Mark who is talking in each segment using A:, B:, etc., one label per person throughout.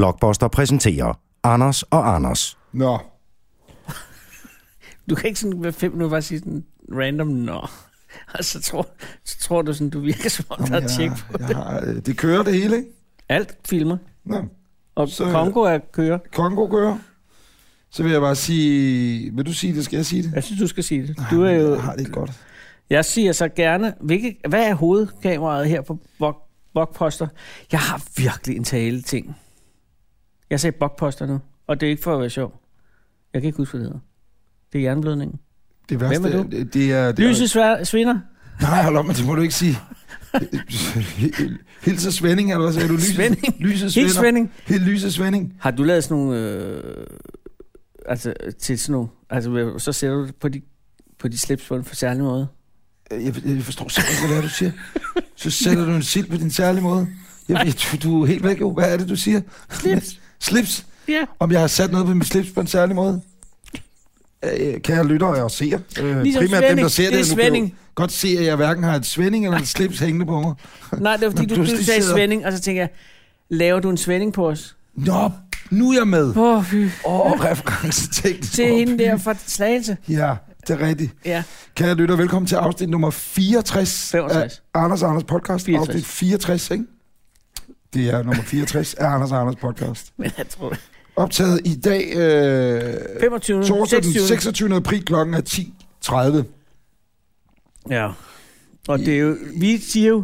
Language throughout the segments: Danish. A: Blockbuster præsenterer Anders og Anders.
B: Nå,
C: Du kan ikke sådan ved fem minutter bare sige sådan random nå. Og så tror, så tror du sådan, du virker som om, der er tjek på
B: jeg har, øh, det kører det hele, ikke?
C: alt filmer.
B: Nå,
C: Og
B: Så-
C: så... Kongo er kører.
B: Kongo kører. Så vil jeg bare sige... Vil du sige det? Skal jeg sige det?
C: Jeg synes, du skal sige det. Altså, Du er jo,
B: Jeg har det ikke godt.
C: jeg siger så gerne, hvilke, hvad er hovedkameraet her på bok, Bokposter? Jeg har virkelig en tale ting. Jeg sagde Bokposter nu, og det er ikke for at være sjov. Jeg kan ikke huske, hvad det hedder. Det er jernblødningen.
B: Det
C: Hvem er
B: værste,
C: du?
B: Det, det er... Det er
C: Lyset svær, svinder.
B: Nej, hold op, men det må du ikke sige. Hilse Svending, eller hvad sagde du? Lyse,
C: Svending.
B: Lyse
C: Helt
B: Svending.
C: svinding.
B: Helt Lyse Svending.
C: Har du lavet sådan nogle... Øh, altså, til sådan nogle... Altså, hvor- så sætter du det på de, på de slips på en for særlig måde.
B: Øh, Jeg, jeg forstår simpelthen ikke, hvad det er, du siger. Så sætter du en sild på din særlige måde. Jeg, jeg, du, du er helt væk, jo. Hvad er det, du siger?
C: Slips.
B: Slips?
C: Ja.
B: Om jeg har sat noget på min slips på en særlig måde? Øh, Kære lyttere og seere. Øh,
C: Ligesom
B: primært dem, der
C: Svending.
B: ser det.
C: Det
B: nu
C: er
B: kan jeg jo
C: Svending.
B: Godt se, at jeg hverken har et svending eller en slips hængende på mig.
C: Nej, det var fordi,
B: Men
C: du, du
B: pludselig
C: sagde
B: sidder-
C: svending, og så tænker jeg, laver du en svending på os?
B: Nå, nu er jeg med. Åh,
C: Åh, fy.
B: oh, referencetægt.
C: Til hende der fra Slagelse.
B: Ja, det er rigtigt.
C: Ja,
B: Kære lytter, velkommen til afsnit nummer 64
C: 65.
B: af Anders og Anders podcast.
C: 64.
B: Afsnit 64, ikke? Det er nummer 64 af Anders og Anders podcast.
C: Men jeg tror det.
B: Optaget i dag, øh,
C: 25.
B: torsdag den
C: 26.
B: 26. april klokken er 10.30.
C: Ja. Og det er jo, vi siger jo,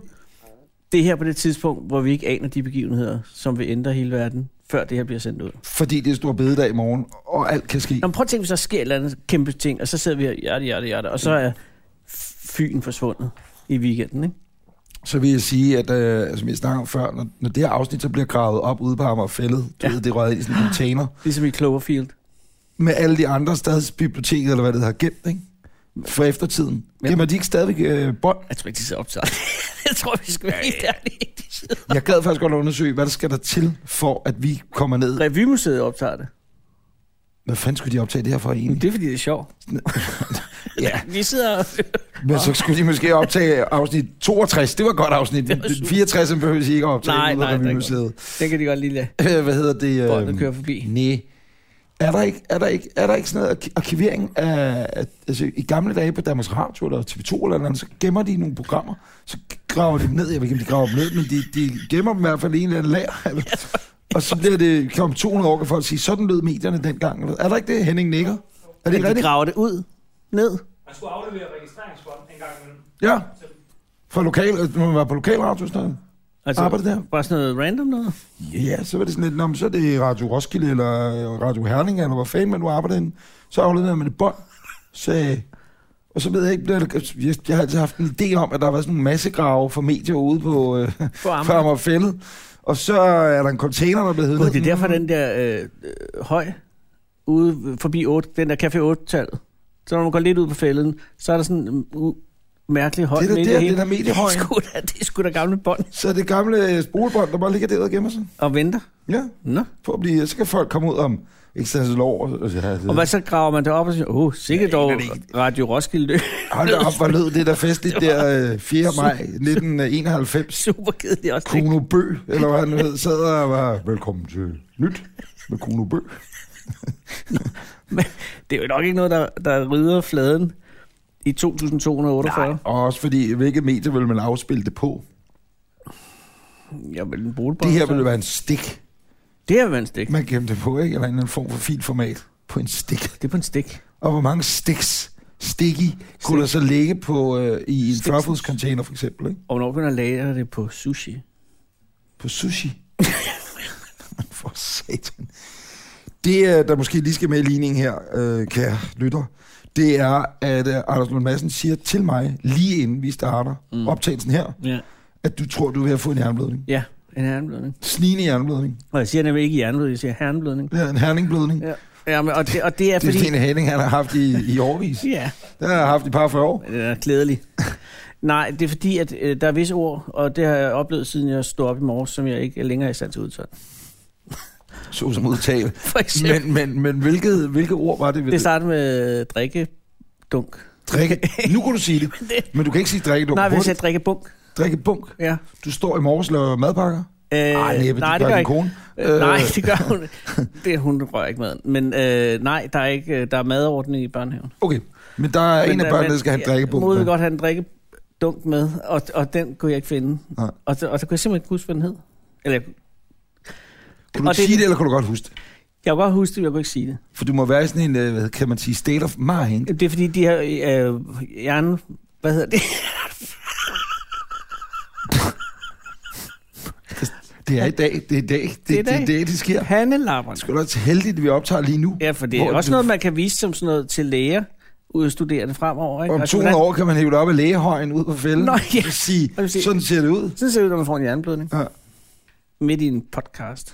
C: det er her på det tidspunkt, hvor vi ikke aner de begivenheder, som vil ændre hele verden, før det her bliver sendt ud.
B: Fordi det er stor bededag i morgen, og alt kan ske.
C: Nå, men prøv at tænke, hvis der sker et eller andet kæmpe ting, og så sidder vi her, hjerte, hjerte, hjerte, og så er Fyn forsvundet i weekenden, ikke?
B: Så vil jeg sige, at øh, som jeg snakkede om før, når, når det her afsnit så bliver gravet op ude på Amager Fællet, du ja.
C: Ja.
B: ved, det røget ind i sådan en container,
C: Ligesom i Cloverfield.
B: med alle de andre stadsbiblioteker, eller hvad det hedder, gemt, ikke? For eftertiden.
C: Ja.
B: Gemmer de ikke stadigvæk øh, bånd?
C: Jeg tror ikke, de sidder optaget. jeg tror, vi skal være helt ærlige. De sidder.
B: Jeg gad faktisk godt undersøge, hvad der skal der til, for at vi kommer ned.
C: Revymuseet optager det.
B: Hvad fanden skulle de optage det her for
C: Men
B: egentlig?
C: det er, fordi det er sjovt.
B: Ja.
C: Vi sidder og...
B: Men så skulle de måske optage afsnit 62. Det var et godt afsnit.
C: Det var super.
B: 64 behøver de ikke at optage.
C: Nej,
B: Nu ved
C: nej, det er
B: Revymuseet.
C: Den kan de godt lige lade
B: Øh, Hvad hedder det?
C: båndet køre forbi.
B: Nej. Er der, ikke, er, der ikke, er der ikke sådan noget arki- arkivering af... af- Altså, i gamle dage på Danmarks Radio eller TV2 eller andet, så gemmer de nogle programmer, så graver de dem ned. Jeg ved ikke, om de graver dem ned, men de, de gemmer dem i hvert fald i en eller anden lager. Og så bliver det kom 200 år, kan folk sige, sådan lød medierne dengang. eller- Er der ikke det, Henning nikker? Er det
C: Men
B: ikke
C: de
B: rigtigt?
C: graver det ud. Ned.
D: Man skulle aflevere registreringsbånd en gang imellem.
B: Ja. For lokal, må man være på lokalradio sådan noget.
C: Altså,
B: Arbejder der?
C: Bare sådan noget random noget.
B: Ja, så var det sådan lidt, "Nå, men så er det Radio Roskilde eller øh, Radio Herning, eller hvor fanden man nu arbejder inde. Så afleverede man et bånd, så, og så ved jeg ikke, bliver det, jeg, jeg har altid haft en idé om, at der var sådan en masse grave for medier ude på øh,
C: For Amager.
B: Farmer Fællet. Og så er der en container, der er blevet
C: Gud,
B: heddet.
C: det er derfor, den der øh, øh, høj ude forbi 8, den der Café 8-tallet. Så når man går lidt ud på fælden, så er der sådan en uh, mærkelig høj
B: det er
C: midt i
B: der, der,
C: hele-
B: det der mediehøjen.
C: sgu da, det er sgu da gamle bånd
B: Så er det gamle øh, spolebånd, der bare ligger der og gemmer sig.
C: og venter.
B: Ja,
C: Nå.
B: for at blive, så kan folk komme ud om ekstens lov. Og, og,
C: Og hvad så graver man det op og siger, åh, oh, sikkert dog
B: aner det
C: Radio Roskilde.
B: Hold da op, hvor lød det der festligt der øh, 4. maj 1991.
C: Super kedeligt også. Cool.
B: Kuno Bø, eller hvad han nu hed, sad og var, velkommen til nyt med Kuno Bø.
C: Men det er jo nok ikke noget, der, der rydder fladen i 2248.
B: Og også fordi, hvilket medie ville man afspille det på?
C: Jeg vil en brugbånd.
B: Det her ville være en stik.
C: Det her vil være en stik.
B: Man gemte det på, ikke? Eller en eller anden form for filformat på en stik.
C: Det er på en stik.
B: Og hvor mange stiks, sticky, kunne der så ligge på, øh, i en
C: Stiksen.
B: 40 container for eksempel, ikke?
C: Og hvornår kan man lagre det på sushi?
B: På sushi. for satan. Det, øh, der måske lige skal med i ligningen her, øh, kære lytter, det er, at øh, Anders Lund Madsen siger til mig, lige inden vi starter mm.
C: Mm.
B: optagelsen her,
C: Ja.
B: at du tror, du er ved at få en jernblødning.
C: Ja, en hernblødning.
B: Snigende jernblødning.
C: Og jeg siger nemlig ikke jernblødning, jeg siger hernblødning.
B: Ja, en herningblødning. Ja,
C: Ja, ja men, og, det, og det er
B: det er
C: fordi...
B: Stine Henning, han har haft i, i årvis.
C: Ja,
B: Det har jeg haft i et par 40 år.
C: men den er glædelig. Nej, det er fordi, at øh, der er visse ord, og det har jeg oplevet, siden jeg stod op i morges, som jeg ikke er længere i stand til at udtale.
B: Så som udtale.
C: For eksempel, men,
B: Men, men, men hvilket, hvilket ord var det? ved
C: det starter med øh, drikkedunk.
B: drikke. Nu kan du sige det. Men du kan ikke sige drikke. Du
C: Nej,
B: Nej,
C: hvis jeg
B: jeg...
C: drikker bunk.
B: Drikke bunk.
C: Ja.
B: Du står i morges og laver madpakker.
C: Øh,
B: Ej, næppe,
C: nej,
B: det gør
C: jeg
B: din
C: ikke.
B: kone.
C: Øh, nej,
B: Øh.
C: det gør hun. Det, hun rører ikke maden. Men øh, nej, der er, ikke, øh, der er madordning i børnehaven.
B: Okay, men der er en
C: Men,
B: af
C: øh,
B: børnene, der
C: men
B: skal have en
C: jeg-
B: drikkebog.
C: Mor ville
B: med.
C: godt have en drikkedunk med, og, og den kunne jeg ikke finde.
B: Nej.
C: Og, så- og så kunne jeg simpelthen ikke huske, hvad den hed. Eller, jeg-
B: Kunne du
C: og
B: ikke sige det, eller kunne du godt huske det?
C: Jeg kunne godt huske det, men jeg kunne ikke sige det.
B: For du må være i sådan en, øh, hvad kan man sige, state of mind.
C: Det er fordi, de her øh, hjerne... Hvad hedder det?
B: Det er i dag, det er i dag, det, det,
C: Det er
B: er
C: i dag.
B: det, det, det sker.
C: Pandelapperne.
B: Skal du også heldigt, at vi optager lige nu.
C: Ja, for det er
B: Hvor
C: også
B: du-
C: noget, man kan vise som sådan noget til læger, udstuderende fremover. Ikke?
B: Om
C: Altså,
B: 200
C: hvordan-
B: år kan man hæve det op af lægehøjen ud på fælden.
C: Nå, ja.
B: Og sige,
C: Og sige-
B: sådan ser det ud.
C: Sådan ser det ud, når man får en hjerneblødning.
B: Ja.
C: Midt i en podcast.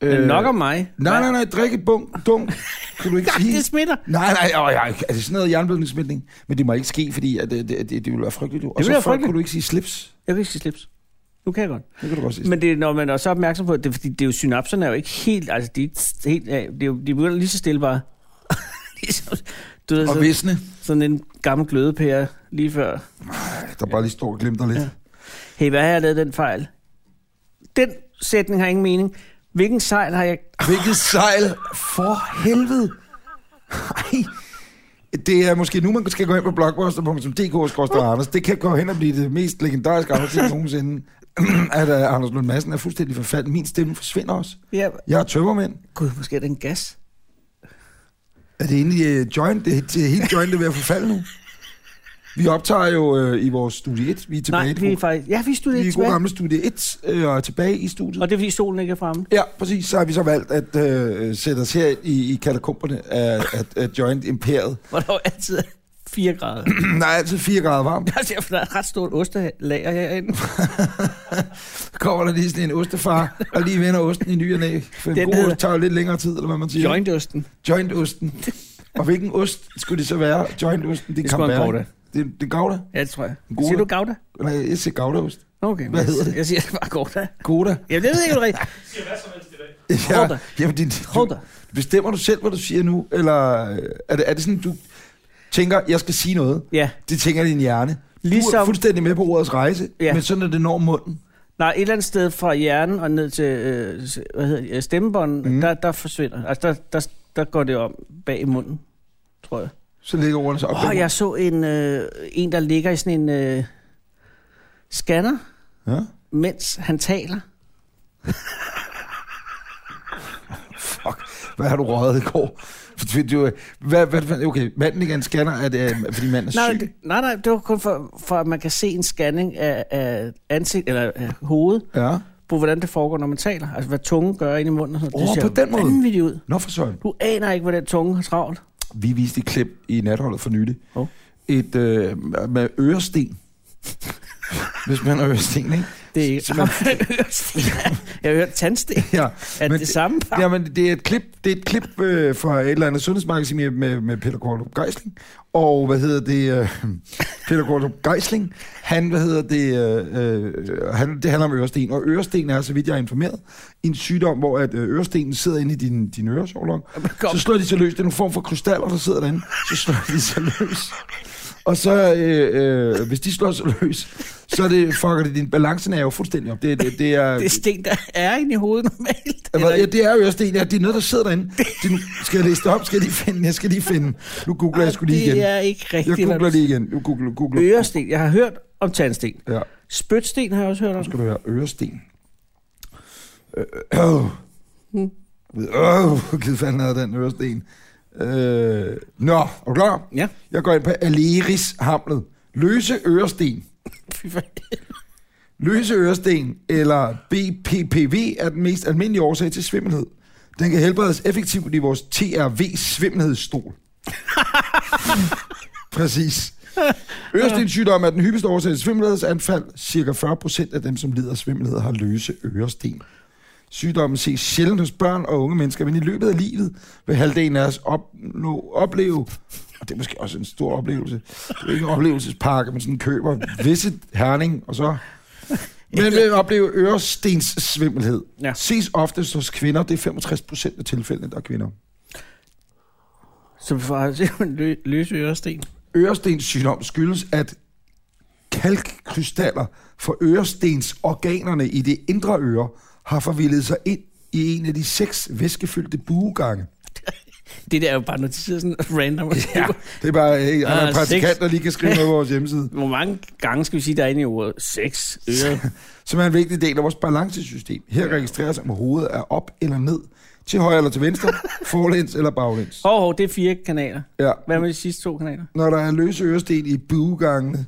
C: Øh, Men nok om mig.
B: Nej, nej, nej, drikke bunk, dunk. Kan du ikke
C: Ja,
B: sige?
C: det smitter.
B: Nej, nej, åh, jeg, er det sådan noget jernblødningssmitning? Men det må ikke ske, fordi at, det, det, det, det ville være frygteligt. Du. Og
C: ville
B: så før
C: være frygteligt.
B: kunne du ikke sige slips.
C: Jeg kan ikke sige slips. Nu kan jeg godt.
B: Det kan du godt sige.
C: Men det, er, når man er så opmærksom på, det, er fordi det er jo synapserne er jo ikke helt, altså de er ikke st- helt af, det er jo, de begynder lige så stille bare. ligesom, du ved,
B: og
C: sådan,
B: visne,
C: sådan, en gammel glødepære lige før.
B: der bare lige står og glimter lidt.
C: Ja. Hey, hvad har jeg lavet den fejl? Den sætning har ingen mening. Hvilken sejl har jeg...
B: Hvilket sejl for helvede. Ej. Det er måske nu, man skal gå ind på blogbuster.dk-anders. Det kan gå hen og blive det mest legendariske afsnit nogensinde. at uh, Anders Lund Madsen er fuldstændig forfaldet. Min stemme forsvinder også.
C: Ja,
B: Jeg er tømmermænd.
C: gud, måske er det en gas.
B: Er det egentlig uh, joint? Det, det er helt joint, det er ved at forfalde nu. Vi optager jo uh, i vores studie 1. Vi er tilbage
C: Nej,
B: i det
C: vi er
B: gode-
C: faktisk... Ja, vi studerer
B: vi er
C: ikke
B: i gode
C: tilbage.
B: gamle studie 1 øh, og er tilbage i studiet.
C: Og det er, fordi solen ikke er fremme.
B: Ja, præcis. Så har vi så valgt at øh, sætte os her i, i katakomberne af, af, af Joint Imperiet.
C: Hvor der jo altid er 4 grader.
B: Der er altid 4 grader varmt.
C: Der er derfor, der er et ret stort ostelager herinde.
B: Så kommer der lige sådan en ostefar, og lige vender osten i ny og næ. For en
C: Den
B: god
C: hedder-
B: ost tager jo lidt længere tid, eller hvad man siger.
C: Jointosten.
B: Jointosten. Og hvilken ost skulle det så være? Jointosten, det
C: Det
B: er
C: skulle være en
B: Camembert.
C: gouda.
B: Det, det er gouda.
C: Ja, det tror jeg.
B: Gouda.
C: Siger du gouda?
B: Nej, jeg siger goudaost.
C: Okay.
B: Hvad
C: men
B: hedder det?
C: Jeg siger bare gouda.
B: Gouda.
C: Jamen, det ved jeg ikke rigtigt.
D: Jeg siger hvad som helst i dag.
B: Ja,
C: Gouda.
B: jamen, din,
C: Gouda.
B: bestemmer du selv, hvad du siger nu? Eller øh, er det, er det sådan, du tænker, jeg skal sige noget?
C: Ja.
B: Det tænker din hjerne. Ligesom... Du er
C: Ligesom-
B: fuldstændig med på ordets rejse, ja.
C: Ja.
B: men sådan er det når munden.
C: Nej, et eller andet sted fra hjernen og ned til øh, s- hvad hedder, det, øh, stemmebånden,
B: Mm.
C: mm. der, der forsvinder. Altså, der, der, der går det om bag i munden, tror jeg.
B: Så ligger ordene så op.
C: Åh, oh, jeg så en, øh, en, der ligger i sådan en øh, scanner,
B: Ja?
C: mens han taler.
B: Fuck, hvad har du røget i går? Fordi du, hvad, hvad, hvad, okay, manden ikke er en scanner, er det, øh, fordi manden er syg.
C: Nej, det, nej, nej, det var kun for, for, at man kan se en scanning af, af ansigt, eller af hovedet,
B: Ja.
C: på hvordan det foregår, når man taler. Altså, hvad tungen gør ind i munden. Og sådan. noget.
B: Åh,
C: det ser
B: på den måde.
C: vanvittigt ud.
B: Nå for søren.
C: Du aner ikke, hvordan tungen har travlt.
B: Vi viste et klip i natholdet for nylig.
C: Hov.
B: Et, øh, med øresten. Hvis man har øresten, ikke?
C: Det er ikke...
B: Så man-
C: jeg har hørt tandsten.
B: Ja,
C: Er
B: men
C: det, det samme? par?
B: Jamen, det er et klip, det er et klip øh, fra et eller andet sundhedsmagasin med, med, med Peter Kortrup Geisling. Og hvad hedder det? Øh, Peter Kortrup Geisling, han, hvad hedder det, øh, øh, han, det handler om øresten. Og øresten er, så vidt jeg er informeret, en sygdom, hvor at øh, ørestenen sidder inde i din, din øresovlong.
C: Kom.
B: Så slår de så løs. Det er nogle form for krystaller, der sidder derinde. Så slår de så løs. Og så, øh, øh, hvis de slår så løs, så er det, fucker det din balancenerve fuldstændig op. Det, det, det er,
C: Det er sten, der er inde i hovedet normalt.
B: Ja,
C: Eller-
B: ja, det er Øresten, ja. Det er noget, der sidder derinde. Det, nu, skal jeg læse det op? Skal jeg lige finde? Jeg skal lige finde. Nu googler jeg sgu lige igen.
C: Det er ikke
B: Jeg
C: rigtigt.
B: googler
C: hvad du-
B: lige igen. Nu googler, googler.
C: Øresten. Jeg har hørt om tandsten.
B: Ja,
C: Spytsten har jeg også hørt om.
B: nu skal du høre. Øresten. Øh, øh. Øh, givet fanden havde den Øresten. Øh, nå, er du klar?
C: Ja.
B: Jeg går ind på Aleris-hamlet. Løse Øresten.
C: Fy for-
B: Løse øresten eller BPPV er den mest almindelige årsag til svimmelhed. Den kan helbredes effektivt i vores TRV-svimmelhedsstol. Præcis. Ørestenssygdom er den hyppigste årsag til svimmelhedsanfald. Cirka 40 procent af dem, som lider af svimmelhed, har løse øresten. Sygdommen ses sjældent hos børn og unge mennesker, men i løbet af livet vil halvdelen af os opnå, opleve, og det er måske også en stor oplevelse, det er jo ikke en oplevelsespakke, men sådan køber visse herning, og så... Men vil opleve ørestens svimmelhed.
C: Ja.
B: Ses oftest hos kvinder, det er 65 procent af tilfældene, der er kvinder.
C: Så vi får simpelthen lø- løse øresten.
B: Ørestens sygdom skyldes, at kalkkrystaller for ørestensorganerne i det indre øre har forvildet sig ind i en af de seks væskefyldte buegange.
C: Det der er jo bare noteret sådan random. Ja.
B: Det er bare hey, er der
C: Ah,
B: en praktikant,
C: seks.
B: der lige kan skrive noget på vores hjemmeside.
C: Hvor mange gange skal vi sige, der er inde i ordet? Seks øre.
B: som er en vigtig del af vores balancesystem. Her registreres, om hovedet er op eller ned, til højre eller til venstre, forlæns eller baglæns.
C: Hov, hov, det er fire kanaler.
B: Ja.
C: Hvad med de sidste to kanaler?
B: Når der er løse øresten i buegangene,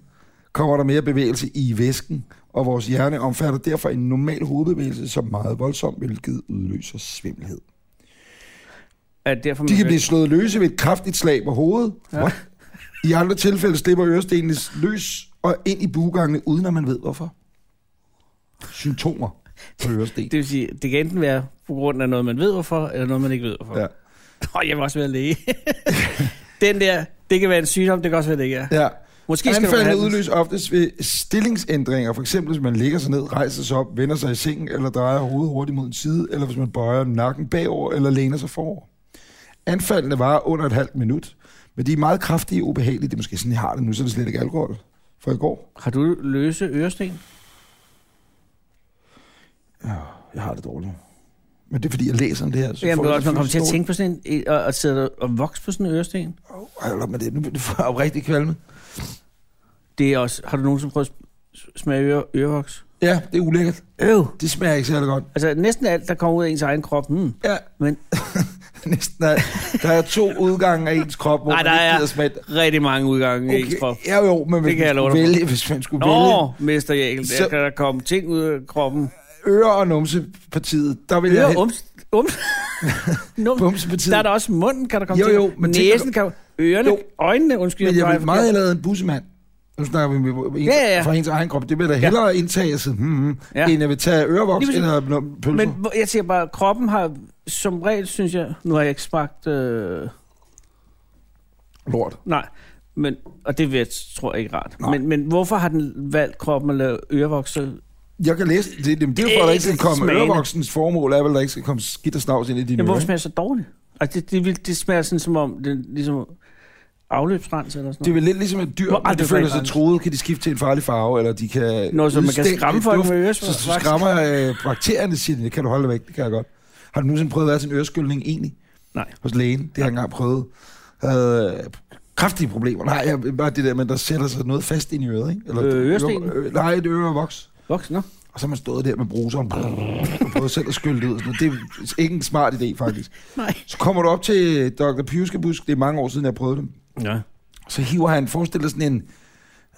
B: kommer der mere bevægelse i væsken, og vores hjerne omfatter derfor en normal hovedbevægelse, som er meget voldsom, hvilket udløser svimmelhed.
C: Er det derfor,
B: De
C: man-
B: kan blive slået løse ved et kraftigt slag på hovedet.
C: Ja.
B: Ja. I andre tilfælde slipper ørestenene løs og ind i bugangene, uden at man ved hvorfor. Symptomer på øresten.
C: Det vil sige, det kan enten være på grund af noget, man ved hvorfor, eller noget, man ikke ved hvorfor.
B: Ja.
C: Ja. Og jeg vil også være læge. Den der, det kan være en sygdom, det kan også være, det ikke er.
B: Ja.
C: Måske skal du
B: Anfaldene
C: have den.
B: udløses oftest ved stillingsændringer. For eksempel, hvis man ligger sig ned, rejser sig op, vender sig i sengen, eller drejer hovedet hurtigt mod en side, eller hvis man bøjer nakken bagover, eller læner sig forover. Anfaldene varer under et halvt minut, men de er meget kraftige og ubehagelige. Det er måske sådan, jeg har det nu, så er det slet ikke alkohol fra i går.
C: Har du løse øresten?
B: Jeg har det dårligt. Men det er, fordi jeg læser om det her. Så
C: Jamen,
B: får
C: du
B: jeg
C: også, man
B: det
C: kommer til at
B: fysisk
C: tænke på sådan en, og, og sidde og vokse på sådan en øresten.
B: dårligt. Åh, hold op med det. Nu bliver det oprigtigt kvalme.
C: Det er også, har du nogensinde prøvet at sm- smage øre, ørevoks?
B: Ja, det er ulækkert.
C: Øv!
B: Det smager ikke særlig godt.
C: Altså, næsten alt, der kommer ud af ens egen krop, hmm.
B: Ja,
C: men
B: næsten. Der, der er to udgange af ens krop, hvor
C: Nej,
B: Ej,
C: der
B: man ikke
C: er-
B: gider smage
C: rigtig mange udgange okay. i ens krop.
B: Ja, jo, men hvis,
C: kan jeg
B: man
C: love
B: skulle
C: dig for.
B: vælge, hvis man skulle vælge
C: Nå, Mester Jækel, der
B: Så-
C: kan der komme ting ud af kroppen.
B: øre- og numsepartiet, der vil jeg
C: Øre,
B: hen.
C: ums, ums, num,
B: Bumsepartiet.
C: Der er der også munden, kan der komme
B: Jo,
C: til.
B: jo, men tænker
C: Næsen
B: du-
C: kan Ørerne,
B: Jo.
C: jo. øjnene, undskyld.
B: Men jeg
C: plejer
B: vil meget
C: forkert.
B: hellere have en bussemand. Nu snakker vi med en,
C: Ja, ja, ja.
B: fra ens egen krop. Det vil jeg da hellere ja. indtage, sådan, hmm, hmm, ja.
C: Ja.
B: end jeg vil tage ørevoks
C: Lige præcis.
B: eller num- pølser.
C: Men hvor- jeg siger bare, kroppen har som regel, synes jeg... Nu har jeg ikke smagt... Øh,
B: Lort.
C: nej, men, og det vil jeg, tror jeg ikke rart.
B: Nej.
C: Men, men hvorfor har den valgt kroppen at lave ørevokset?
B: Jeg kan læse det. Det, det, det er jo for, at
C: Det
B: der
C: er
B: ikke skal
C: ikke
B: komme
C: smagende.
B: ørevoksens formål, er vel, at der ikke skal komme skidt og snavs ind i dine
C: Jamen, hvorfor
B: ører.
C: smager det så dårligt? Altså, det, det, vil- det smager sådan, som om... Det, ligesom afløbsrens eller sådan
B: Det er
C: noget.
B: vel lidt ligesom et dyr,
C: Hvor-
B: når
C: Ej,
B: de
C: det
B: føler
C: var
B: sig
C: ikke
B: truet, kan de skifte til en farlig farve, eller de kan...
C: Noget, som man kan
B: udstænke
C: skræmme folk
B: duft.
C: med
B: Så, så
C: øresvagt.
B: skræmmer øh, bakterierne, siger de, det kan du holde dig væk, det kan jeg godt. Har du nogensinde prøvet at være til en øreskyldning egentlig?
C: Nej.
B: Hos lægen, det har jeg engang prøvet. Jeg havde øh, kraftige problemer. Nej, jeg, bare det der med, at der sætter sig noget fast ind i øret, ikke?
C: Øh, øresten?
B: øre- Øh, nej, et øre og voks.
C: Voksen, nå?
B: Og så har man stået der med bruseren, og prøvet selv at skylle det ud. Sådan noget. Det er ikke en smart idé, faktisk.
C: Nej.
B: Så kommer du op til Dr. Pjuskebusk, det er mange år siden, jeg prøvede det.
C: Ja.
B: Så hiver han, forestil dig sådan en,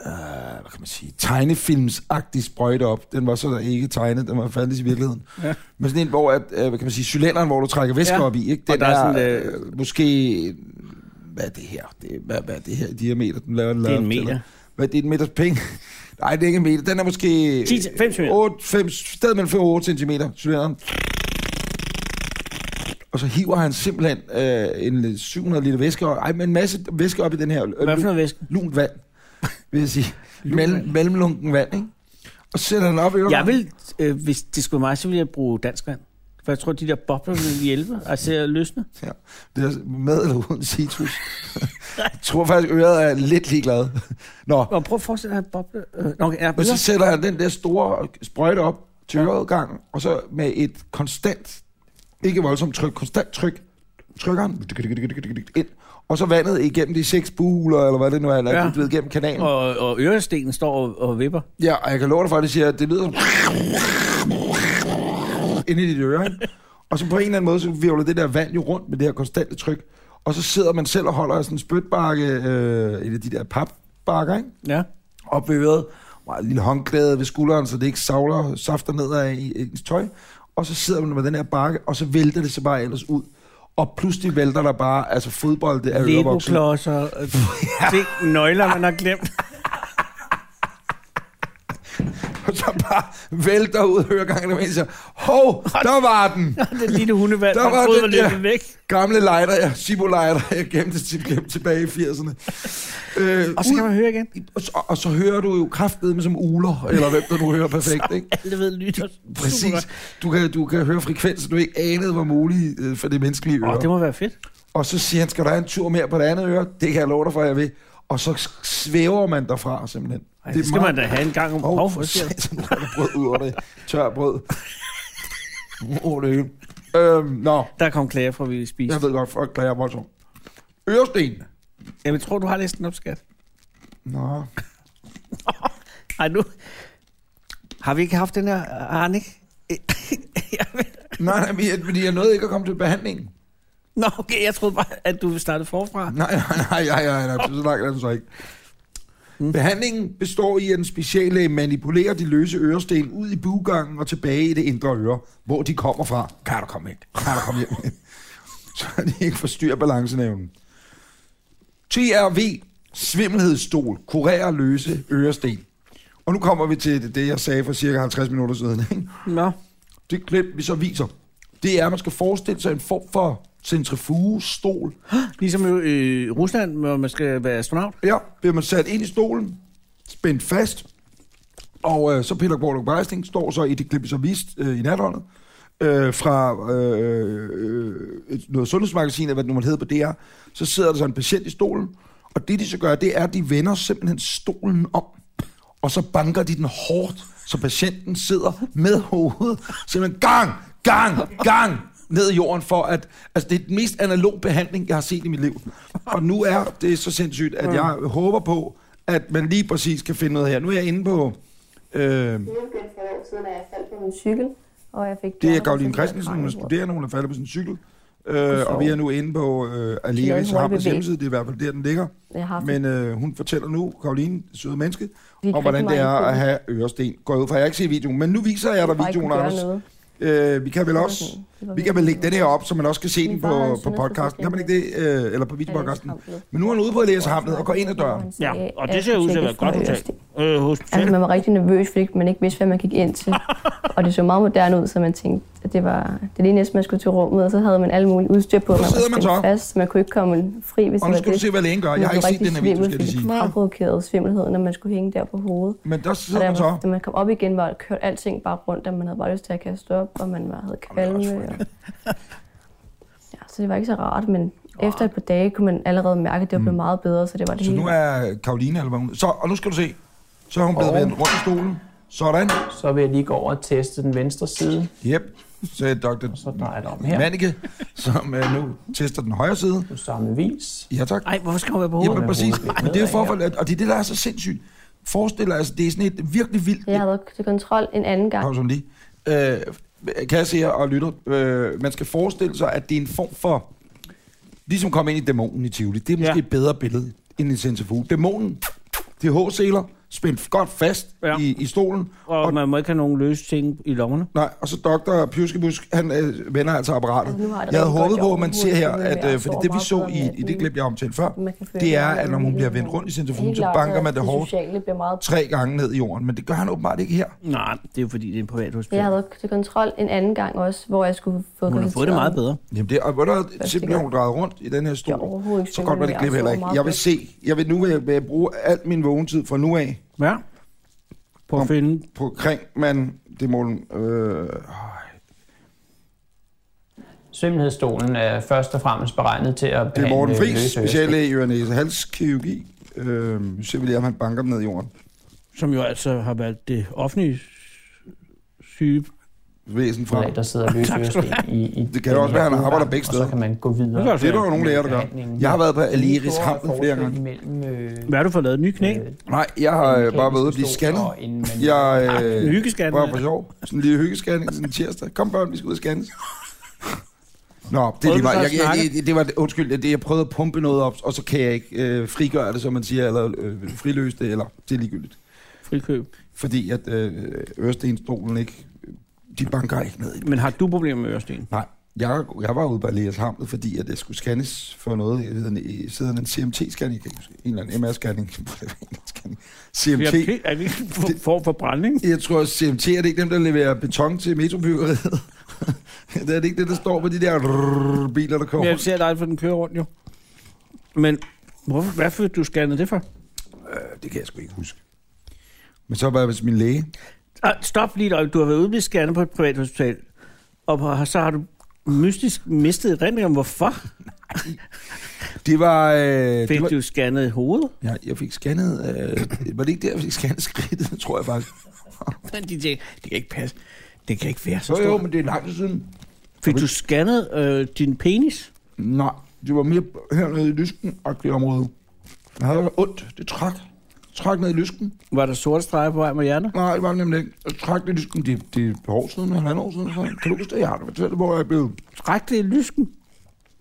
B: øh, hvad kan man sige, tegnefilmsagtig sprøjte op. Den var så der ikke tegnet, den var fandtes i virkeligheden. Ja.
C: Ja.
B: Men sådan en, hvor, at, øh, hvad kan man sige, cylinderen, hvor du trækker væske ja.
C: Ja.
B: op i, ikke? Den
C: Og der er sådan,
B: øh, måske, hvad er det her? Det, er- hvad, hvad er det her i diameter? Den laver, den
C: Det er
B: laver,
C: en meter.
B: Eller, hvad, det er en meters penge? Nej, det er ikke en meter. Den er måske...
C: 10 til- fem centimeter.
B: 8, 5, sted mellem 5 og 8 cm, cylinderen. Og så hiver han simpelthen øh, en 700 liter væske op. Ej, men en masse væske op i den her. øh,
C: Hvad for noget væske?
B: lunt vand, vil jeg sige. Mellem, mellemlunken vand, ikke? Og sætter den op i øvrigt.
C: Jeg vil, øh, hvis det skulle være mig, så ville jeg bruge dansk vand. For jeg tror, de der bobler ville hjælpe, altså at løsne.
B: Ja. Det er med eller uden citrus. jeg tror faktisk, øret er lidt ligeglad. Nå,
C: Og prøv at forestille dig en boble. Øh, nå, okay, ja,
B: men så
C: videre.
B: sætter han den der store sprøjte op til øretgangen, og så med et konstant, ikke voldsomt tryk, konstant tryk, trykker han ind, og så vandet igennem de seks buhuler, eller hvad det nu er, eller
C: Ja.
B: ja. det er blevet igennem kanalen.
C: og, og ørestenen står og, og vipper.
B: Ja, og jeg kan love dig for, at det siger, at det lyder som... Inde i dit øre, ikke? Og så på en eller anden måde, så virvler det der vand jo rundt med det her konstante tryk. Og så sidder man selv og holder af sådan en spytbakke, øh, et af de der papbakker, ikke?
C: Ja.
B: Op ved øret. Og en lille håndklæde ved skulderen, så det ikke savler og safter ned af i- i ens tøj. Og så sidder man med den her bakke, og så vælter det sig bare ellers ud. Og pludselig vælter der bare, altså fodbold, det er ørevoksen.
C: Lego-klodser. øh, ting, nøgler, man har glemt.
B: Og så bare vælter ud af øregangen, og man siger, hov, der var den!
C: det lille hundevand,
B: Der
C: man
B: var
C: troede
B: den
C: var
B: der.
C: lidt væk.
B: Gamle lighter, ja. Sibo-lighter, jeg gemte til gemte tilbage i 80'erne. Øh,
C: Og så kan man høre igen.
B: ud, og, så, og så hører du jo kraftedeme som uler, eller hvem der nu hører perfekt, ikke?
C: Alle ved lytter.
B: Præcis.
C: Super
B: Du kan, du kan høre frekvenser, du ikke anede var mulige øh, for det menneskelige
C: godt.
B: øre.
C: Åh, det må være fedt.
B: Og så siger han, skal der have en tur mere på det andet øre? Det kan jeg love dig for, jeg vil. Og så svæver man derfra, simpelthen.
C: Ej, Ej,
B: Det
C: det,
B: er
C: skal
B: meget-
C: man da have en gang om.
B: Åh,
C: Hov,
B: oh,
C: hvor
B: for
C: siger du?
B: satan, nu er der brød ud over det. Tør brød. Åh, det er helt- øhm, Nå,
C: der kom klager fra, vi spiste.
B: jeg ved godt, folk klager voldsomt. Øresten.
C: Jamen, jeg tror, du har læst den op, skat.
B: Nå,
C: Ej, nu... Har vi ikke haft den her, Arnik?
B: nej, nej, men jeg- fordi jeg nåede ikke at komme til behandlingen.
C: Nå, okay, jeg troede bare, at du startede forfra.
B: Nej, nej, nej, nej, nej, nej så langt er den så ikke. Behandlingen består i, at en speciallæge manipulerer de løse øresten ud i bugangen og tilbage i det indre øre, hvor de kommer fra. Kan du komme hjem? Kan du komme hjem? så de ikke forstyrrer balancenævnen. TRV, svimmelhedsstol, kurerer løse øresten. Og nu kommer vi til det- det, jeg sagde for cirka 50 minutter siden. Ikke?
C: Nå,
B: det klip, vi så viser, det er, at man skal forestille sig en form for centrifugestol.
C: ligesom jo i Rusland, hvor man skal være astronaut.
B: Ja, bliver man sat ind i stolen, spændt fast, og øh, så Peter Borlug Bejsting står så i det klip, vi så viste øh, i natholdet, øh, fra øh, øh, et- noget sundhedsmagasin, eller hvad det nu måtte hedde på DR, så sidder der så en patient i stolen, og det de så gør, det er, at de vender simpelthen stolen om, og så banker de den hårdt, så patienten sidder med hovedet, simpelthen gang, gang, gang, ned i jorden for at... Altså, det er den mest analog behandling, jeg har set i mit liv. Og nu er det så sindssygt, at jeg håber på, at man lige præcis kan finde noget her. Nu er jeg inde på... Øh,
E: Det er begyndt for et år siden, at jeg faldt på min cykel, og jeg fik...
B: Det er
E: hjernerystelse
B: Karoline
E: og
B: Christensen, hun er
E: kraniebrud.
B: studerende, hun er faldet på sin cykel. Øh, og
E: sove.
B: vi er nu inde på øh,
E: Kæden
B: Aleris
E: hurtigt
B: Hammers
E: bevæge.
B: hjemmeside, det er i hvert fald der, den ligger.
E: Jeg har haft
B: Men øh, hun fortæller nu, Karoline, søde menneske,
E: Vi
B: om hvordan
E: rigtig
B: det er
E: meget
B: at have øresten. Går jeg ud fra, jeg har ikke set videoen, men nu viser jeg
E: Jeg
B: dig
E: bare ikke
B: videoen,
E: kunne gøre
B: Anders.
E: noget.
B: Øh, vi kan vel
E: var
B: også,
E: sådan- det var
B: vi kan vel
E: virkelig
B: lægge den her op, så man også kan se
E: Min
B: den
E: far har en
B: på, på
E: sundhedsforsikring.
B: podcasten. Kan man ikke det? Øh, eller på videopodcasten.
E: Jeg læste
B: Men nu er han ude på Aleris Hamlet og går ind ad døren.
E: Hvor han sagde,
C: og
E: at
C: det ser ud til at være et
E: tjekket
C: godt
E: for
C: hotel.
E: øverste.
C: Øh, hospital.
E: Altså, man var rigtig nervøs, fordi man ikke vidste, hvad man gik ind til. og det så meget moderne ud, så man tænkte, at det var det lige næsten, man skulle til rummet, og så havde man alle mulige udstyr på, og man
B: sidder
E: var
B: man
E: spændt
B: så.
E: fast, så man kunne ikke komme fri, hvis
B: Og
E: det
B: nu
E: var
B: skal du
E: det.
B: se, hvad lægen gør. Jeg har ikke set den her video, skal jeg lige sige.
E: Det provokerede svimmelhed, når man skulle hænge der på hovedet.
B: Men der
E: Og
B: sidder
E: da,
B: man
E: man,
B: så.
E: da man kom op igen, var kørt alting bare rundt, og man havde bare lyst til at kaste op, og man var, havde kvalme. Og... Ja, så det var ikke så rart, men efter et par dage kunne man allerede mærke, at det var blevet meget bedre, så det var det
B: Mm. Så
E: hele.
B: nu er Karoline, eller hvad hun... Så, og nu skal du se. Så er hun blevet vendt rundt i stolen. Sådan.
F: Så vil jeg lige gå over og teste den venstre side.
B: Yep. Så er Dr.
F: Så drejer det om her
B: Manneke, som øh, nu tester den højre side.
F: på samme vis.
B: Ja, tak.
C: Ej, hvorfor skal hun være på hovedet?
B: Jamen, præcis.
F: hovedet.
B: Men det er for, at- og det er det, der er så sindssygt. Forestil dig, altså, det er sådan et virkelig vildt...
E: Så jeg havde været til kontrol en anden gang.
B: Pause om lige. Øh, kan jeg se her og lytter, øh, man skal forestille sig, at det er en form for... Ligesom at komme ind i dæmonen i Tivoli. Det er måske
C: Ja.
B: ja. et bedre billede end en centrifuge. Dæmonen, det er H-seler, spændt godt fast
C: Ja.
B: ja. i, i stolen.
C: Og, og man må ikke have nogen løse ting i lommerne.
B: Nej, og så doktor Pjuskebusk, han øh, vender altså apparatet.
E: Og nu har det
B: Jeg havde
E: rigtig godt
B: håbet på, at
E: job.
B: man
E: Nu
B: ser
E: er
B: her,
E: det
B: at
E: mere
B: øh, fordi
E: sår
B: det vi
E: meget
B: så
E: bedre
B: i,
E: med
B: i det
E: den.
B: klip, jeg omtalte før,
E: Man kan føre
B: det er,
E: hele
B: at når hun
E: livet
B: bliver
E: videre.
B: vendt rundt i
E: Helt
B: centrifugen, så
E: klart,
B: banker
E: at
B: man det hårdt
E: Det sociale bliver meget...
B: tre gange ned i jorden. Men det gør han åbenbart ikke her.
C: Nej, det er jo fordi, det er en privat hospital.
E: Jeg havde været til kontrol en anden gang også, hvor jeg skulle få
C: Hun har fået det meget bedre.
B: Jamen det, og hvor der er simpelthen hun drejet rundt i den her
E: Jeg er
B: stol,
E: overhovedet ikke
B: så godt var det
E: svimmel,
B: klip
E: jeg
B: heller
E: sover
B: ikke.
E: meget
B: Jeg vil
E: godt.
B: se, jeg vil nu vil jeg, vil jeg bruge alt min vågentid fra nu af,
C: Ja. På at
B: Om-
C: finde...
B: på kring, men det må den, øh,
F: Svimmelhedsstolen er først og fremmest beregnet til at
B: det er
F: behandle
B: Morten Friis,
F: løse øresten.
B: speciallæge i ørenæse halskirurgi. Øh, nu ser vi lige, om han banker dem ned i jorden.
C: Som jo altså har været det offentlige syge...
B: Væsen fra.
F: der sidder løse øresten i, i
B: Det kan jo også være, at han arbejder begge
F: Og
B: steder.
F: så kan man gå videre.
C: Det kan også
B: Det er der jo nogle læger, der gør. Jeg har været på Aliris Hamlet flere gange.
F: Mellem, øh,
C: Hvad har du fået lavet? Nye knæ?
F: øh,
B: Nej, jeg har øh, bare været ude at blive
F: pistol
B: scannet.
F: og en manuel.
B: Jeg øh,
C: Hyggeskat.
B: var for sjov. Sådan en lille hyggescanning sådan en tirsdag. Kom børn, vi skal ud og scannes. Nå, det, er lige
C: du så
B: meget.
C: at
B: jeg, jeg,
C: snakke?
B: jeg, det, det var, undskyld, det, jeg prøvede at pumpe noget op, og så kan jeg ikke øh, frigøre det, som man siger, eller øh, friløse det, eller det er ligegyldigt.
C: Frikøb.
B: Fordi at øh, Ørstenstolen ikke, de banker ikke ned i den.
C: Men har du problemer med Øresten?
B: Nej, jeg, jeg var ude på Alias Hamlet, fordi at jeg skulle scannes for noget, jeg ved, en, i- siden en CMT-scanning, en eller anden MR-scanning, scanning.
C: Vi
B: CMT,
C: har er det ikke en form for brænding?
B: Jeg tror, at CMT er det ikke dem, der leverer beton til metrobyggeriet. det er det ikke det, der står på de der rrrr biler, der
C: Men
B: kommer.
C: jeg ser dig, for den kører rundt jo. Men hvorfor, hvad fik du scannet det for?
B: Øh, det kan jeg sgu ikke huske. Men så var jeg hos min læge.
C: Ah, stop lige et øjeblik. Du har været ude ved scannet på et privat hospital, og på- så har du mystisk mistet et om hvorfor.
B: Det var... Øh, det
C: Fik
B: var
C: du scannet hovedet?
B: ja, jeg fik scannet... Øh, var det ikke der, jeg fik scannet skridtet, tror jeg faktisk.
C: Men de tænker, det kan ikke passe. Det kan ikke være så
B: Så jo,
C: stort.
B: men det er lang tid siden.
C: Fik du scannet øh, din penis?
B: Nej, det var mere hernede i lysken og det område. Jeg havde ondt. Det trak. Trak ned i lysken.
C: Var der sorte streger på vej med hjerner?
B: Nej, det var det nemlig ikke. Jeg trak ned i lysken. Det, det er et par år siden, halvandet år siden. tror jeg. Kan du huske det? Jeg har det fortalt, hvor jeg blev...
C: Træk det i lysken.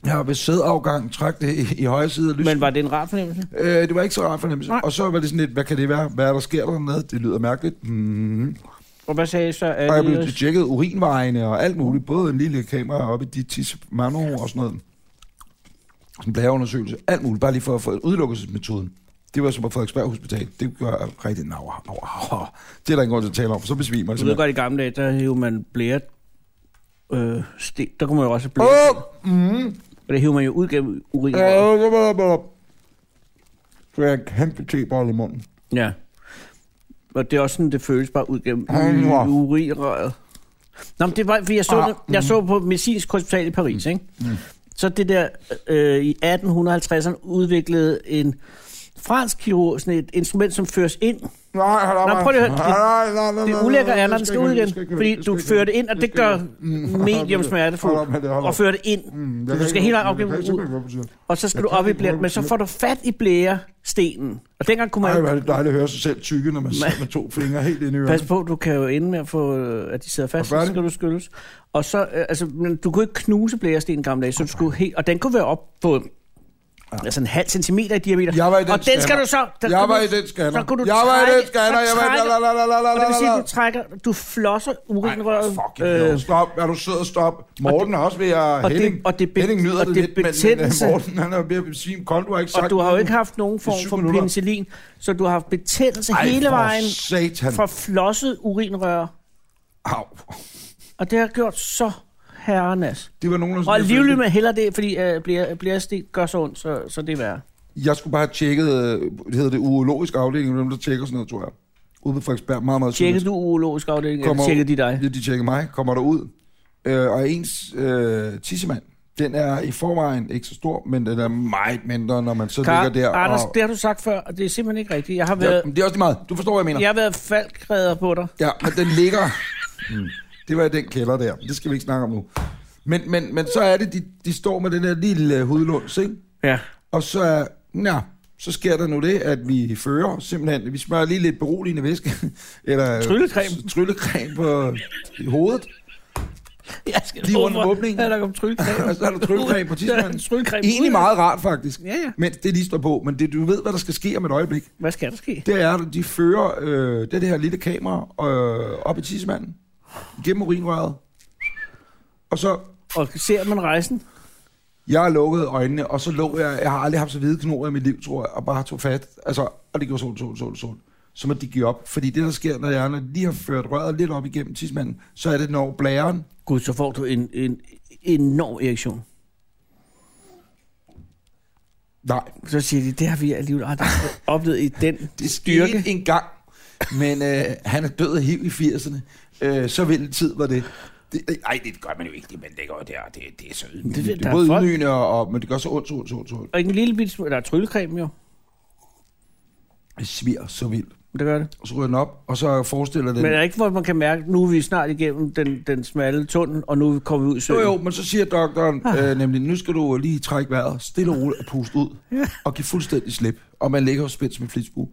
B: Jeg var ved sædeafgang, trak det i, i højre side af lysken.
C: Men var det en rar fornemmelse?
B: Øh, det var ikke så rart fornemmelse.
C: Nej.
B: Og så var det sådan lidt, hvad kan det være? Hvad er der sker dernede? Det lyder mærkeligt. Mm-hmm.
C: Og hvad sagde I så?
B: Og jeg blev
C: Adios?
B: tjekket urinvejene og alt muligt. Både en lille kamera oppe i dit tisse mano og sådan noget. Sådan en blæreundersøgelse. Alt muligt. Bare lige for at få udelukkelsesmetoden. Det var som på Frederiksberg Hospital. Det gør jeg rigtig nav. Au, au, au. Det er der ingen grund til at tale om, for så besvimer jeg
C: Du ved
B: simpelthen.
C: godt, i gamle dage, der hævde man blære... Øh, sten. Der kunne man jo også have blære.
B: Åh! Mm,
C: Og det hævde man jo ud gennem urin.
B: øh, så var der- Så jeg en kæmpe tebolle i munden.
C: Ja. Og det er også sådan, det føles bare ud gennem
B: Ej, hvor.
C: urinrøret. Nå, men det var, fordi jeg så,
B: Ah, Mm.
C: ah, jeg så på Medicinsk Hospital i Paris, ikke? Så det der, øh, i 1850'erne udviklede en fransk kirurg sådan et instrument, som føres ind.
B: Nej, hold op.
C: Nå, prøv lige at høre.
B: Nej, nej, nej, nej,
C: Det
B: nej,
C: ulækker
B: nej,
C: er, når
B: det
C: den skal
B: ikke
C: ud
B: høre,
C: igen,
B: det skal ikke høre,
C: fordi
B: det
C: du
B: skal
C: fører
B: ikke
C: det ind, og
B: høre.
C: det gør
B: Mm.
C: medium
B: Hold op med
C: smertefuldt,
B: det, hold
C: og
B: op.
C: fører det ind.
B: Mm, jeg
C: Så
B: kan
C: du skal
B: ikke-
C: helt
B: jeg kan
C: afgive
B: ikke-
C: ud.
B: jeg kan ikke- jeg kan ikke-
C: Og så skal
B: Jeg
C: du
B: kan
C: op i
B: ikke-
C: blære, men så får du fat i blærestenen. Og dengang kunne
B: Ej,
C: man
B: hvor er
C: jo
B: det dejligt at høre sig selv tykke, når man sidder med to fingre helt inde i
C: Pas
B: øret.
C: på, du kan jo ende med at få, øh, at de sidder fast,
B: Og
C: så skal du skyldes. Og så, øh, altså, men du kunne ikke knuse blæresten i gamle dage, så du skulle helt, og den kunne være op på altså en halv centimeter i diameter.
B: Jeg var i den
C: og den skal
B: scanner.
C: du så... Der,
B: Jeg
C: kunne
B: var
C: du-
B: i den scanner.
C: Så kunne du
B: Jeg var i
C: trække-
B: den scanner.
C: så
B: Jeg var i...
C: trækker-
B: La, la, la, la, la,
C: Og det vil sige,
B: la,
C: at du trækker, du flosser urinrøret.
B: la. Øh, stop. Er du sød og stop? Morten har også ved at...
C: og det-
B: Henning,
C: og det be-
B: Henning nyder
C: og
B: det,
C: det
B: lidt, men, men
C: betændelse.
B: øh, Morten han er ved at besvime kold. Du har ikke sagt...
C: og du har jo ikke haft nogen form
B: syv
C: for
B: minutter.
C: penicillin, så du har haft betændelse
B: Ej,
C: hele
B: for
C: vejen
B: satan.
C: fra flosset urinrør.
B: Au.
C: Og det har gjort så herrenas.
B: Det var nogen, der... sådan-
C: Og livlig med heller det, fordi øh, bliver, bliver stik gør så ondt, så, så det er værre.
B: Jeg skulle bare have tjekket... øh, Det hedder det urologisk afdeling, dem der tjekker sådan noget, tror jeg. Ude på Frederiksberg, meget, meget
C: Tjekkede du urologisk afdeling, eller
B: Kommer-
C: tjekkede de dig?
B: Ja, de tjekker mig, kommer der ud. Øh, og ens øh, tissemand, den er i forvejen ikke så stor, men den er meget mindre, når man så
C: Kar,
B: ligger der.
C: Anders,
B: og,
C: det har du sagt før, og det er simpelthen ikke rigtigt. Jeg har
B: ja,
C: været,
B: men det er også lige meget. Du forstår, hvad jeg mener.
C: jeg
B: Ja,
C: har været falkreder på dig.
B: ja men den ligger... Mm. Det var i den kælder der. Det skal vi ikke snakke om nu. Men, men, men så er det, de, de står med den der lille øh, hudlås, ikke?
C: Ja.
B: Og så, er- ja, så sker der nu det, at vi fører simpelthen, vi smører lige lidt beroligende væske, eller
C: Tryllecreme.
B: s- tryllecreme på hovedet,
C: Jeg skal
B: Lige
C: love
B: under
C: for,
B: åbningen.
C: at der kom tryllekrem.
B: og så er der tryllecreme på tissemanden.
C: Tryllekrem.
B: Egentlig meget rart, faktisk.
C: Ja, ja.
B: Men det lige står på. Men det, du ved, hvad der skal ske om et øjeblik.
C: Hvad skal der ske?
B: Det er, at de fører øh, det, det her lille kamera øh, op i tissemanden. Gennem urinrøret. Og så,
C: Og ser man rejsen?
B: jeg lukkede øjnene, og så lå jeg, jeg har aldrig haft så hvide knor i mit liv, tror jeg, og bare tog fat. Altså, og det gjorde sol, sol, sol, sol. Så må de give op. Fordi det, der sker, når hjernen lige har ført røret lidt op igennem tissemanden, så er det, når blæren
C: Gud, så får du en, en enorm erektion.
B: Nej,
C: Så siger de, det har vi alligevel aldrig oplevet i den
B: Det skete
C: styrke.
B: en gang, men øh, han er død af hiv i 80'erne. Øh, så vild en tid var det. det øh, ej, det gør man jo ikke, det man lægger jo der, det, det er så ydmygende. Det,
C: Det- der
B: det, det
C: er
B: er både
C: folk-
B: ydmygende, og, og, men det gør så ondt, ondt, ondt, ondt.
C: Og en lille bitte smule, der er tryllekrem jo,
B: Det sviger så vildt.
C: det gør det.
B: Og så ryger den op, og så forestiller den...
C: Men er det ikke, hvor man kan mærke, at nu er vi snart igennem den, den smalle tunnel, og nu kommer vi ud
B: jo,
C: i søen?
B: jo, men så siger doktoren
C: Ah.
B: øh, nemlig, nu skal du lige trække vejret, stille og roligt og puste ud, og give fuldstændig slip. Og man ligger jo spændt med flitsbue.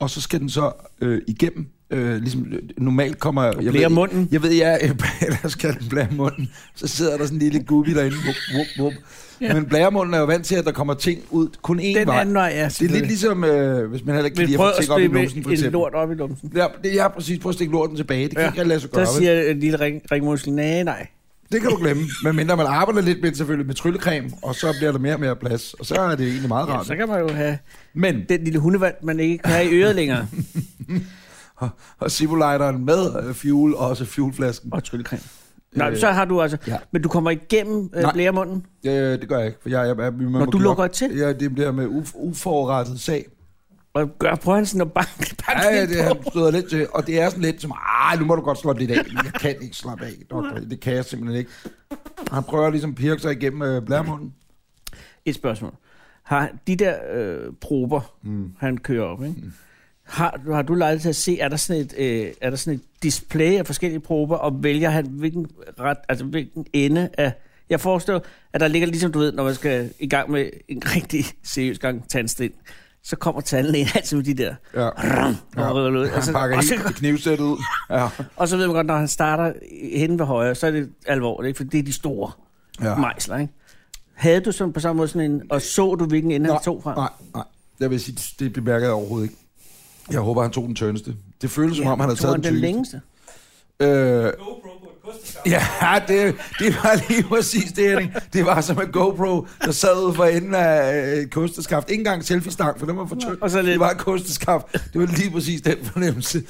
B: Og så skal den så øh, igennem, øh, ligesom øh, normalt kommer... Jeg
C: blære munden.
B: Jeg ved, jeg øh, der skal den blære munden. Så sidder der sådan en lille gubbi derinde. Wup, wup, wup. Ja. Men blæremunden er jo vant til, at der kommer ting ud kun én
C: Den
B: vej.
C: anden vej, ja,
B: det er lidt
C: selvfølgelig.
B: ligesom, øh, hvis man heller ikke kan
C: Men
B: lide
C: prøv
B: at få
C: at
B: ting op i
C: stikke
B: numsen, for
C: en
B: eksempel.
C: lort op i numsen.
B: Ja, det, ja, præcis. Prøv at stikke lorten tilbage. Det kan ja. ikke lade sig gøre.
C: Der
B: vel?
C: siger en lille ring, ringmuskel, nej, nej.
B: Det kan du glemme, medmindre man arbejder lidt med det selvfølgelig med tryllecreme, og så bliver der mere og mere plads, og så er det egentlig meget
C: Ja,
B: rart.
C: så kan man jo have
B: Men
C: den lille hundevand, man ikke kan have i øret længere.
B: og simulateren med øh, fuel og også fuelflasken,
C: Og tryllekrem. Nej, så har du altså...
B: ja.
C: Men du kommer igennem øh,
B: Nej.
C: blæremunden.
B: øh, det gør jeg ikke, for jeg, jeg, jeg man må
C: du
B: give
C: lukker
B: op.
C: til?
B: Ja, det bliver med uf- uforrettet sag.
C: Og gør prøver han sådan at banke, banke
B: Ja, ja,
C: lidt
B: det
C: på.
B: han støder lidt til, og det er sådan lidt som, ah, nu må du godt slappe lidt af, men jeg kan ikke slappe af, doktor, det kan jeg simpelthen ikke. Han prøver ligesom at pirke sig igennem øh, blæremunden.
C: Et spørgsmål. Har de der øh, prober, mm. han kører op, ikke? Mm. Har, har du lejlighed til at se, er der, sådan et, øh, er der sådan et display af forskellige prober, og vælger han hvilken, ret, altså, hvilken ende af... Jeg forestår, at der ligger ligesom, du ved, når man skal i gang med en rigtig seriøs gang tandsten, så kommer tandlægen altid med de der...
B: Ja.
C: Ja. Og, rykker ud, og,
B: Han
C: så,
B: pakker
C: altså, og, så,
B: helt knivsættet ud. Ja.
C: og så ved man godt, når han starter hen ved højre, så er det alvorligt, ikke? for det er de store
B: ja.
C: ja. mejsler, ikke? Havde du sådan på samme måde sådan en, og så du, hvilken ende han tog fra?
B: Nej, nej. Jeg vil sige, det bemærker jeg overhovedet ikke. Jeg håber, han tog den tyndeste. Det føles, som om han har
C: tog
B: taget den
C: den
B: tykkeste.
C: længste.
B: Øh,
D: GoPro på et kosteskaft.
B: ja, det, det var lige præcis det, Henning. Det var som en GoPro, der sad ude for enden af øh, et kosteskaft. Ikke engang en selfie-stang, for den var for tynd.
C: Og så lidt-
B: Det var et kosteskaft. Det var lige præcis den fornemmelse.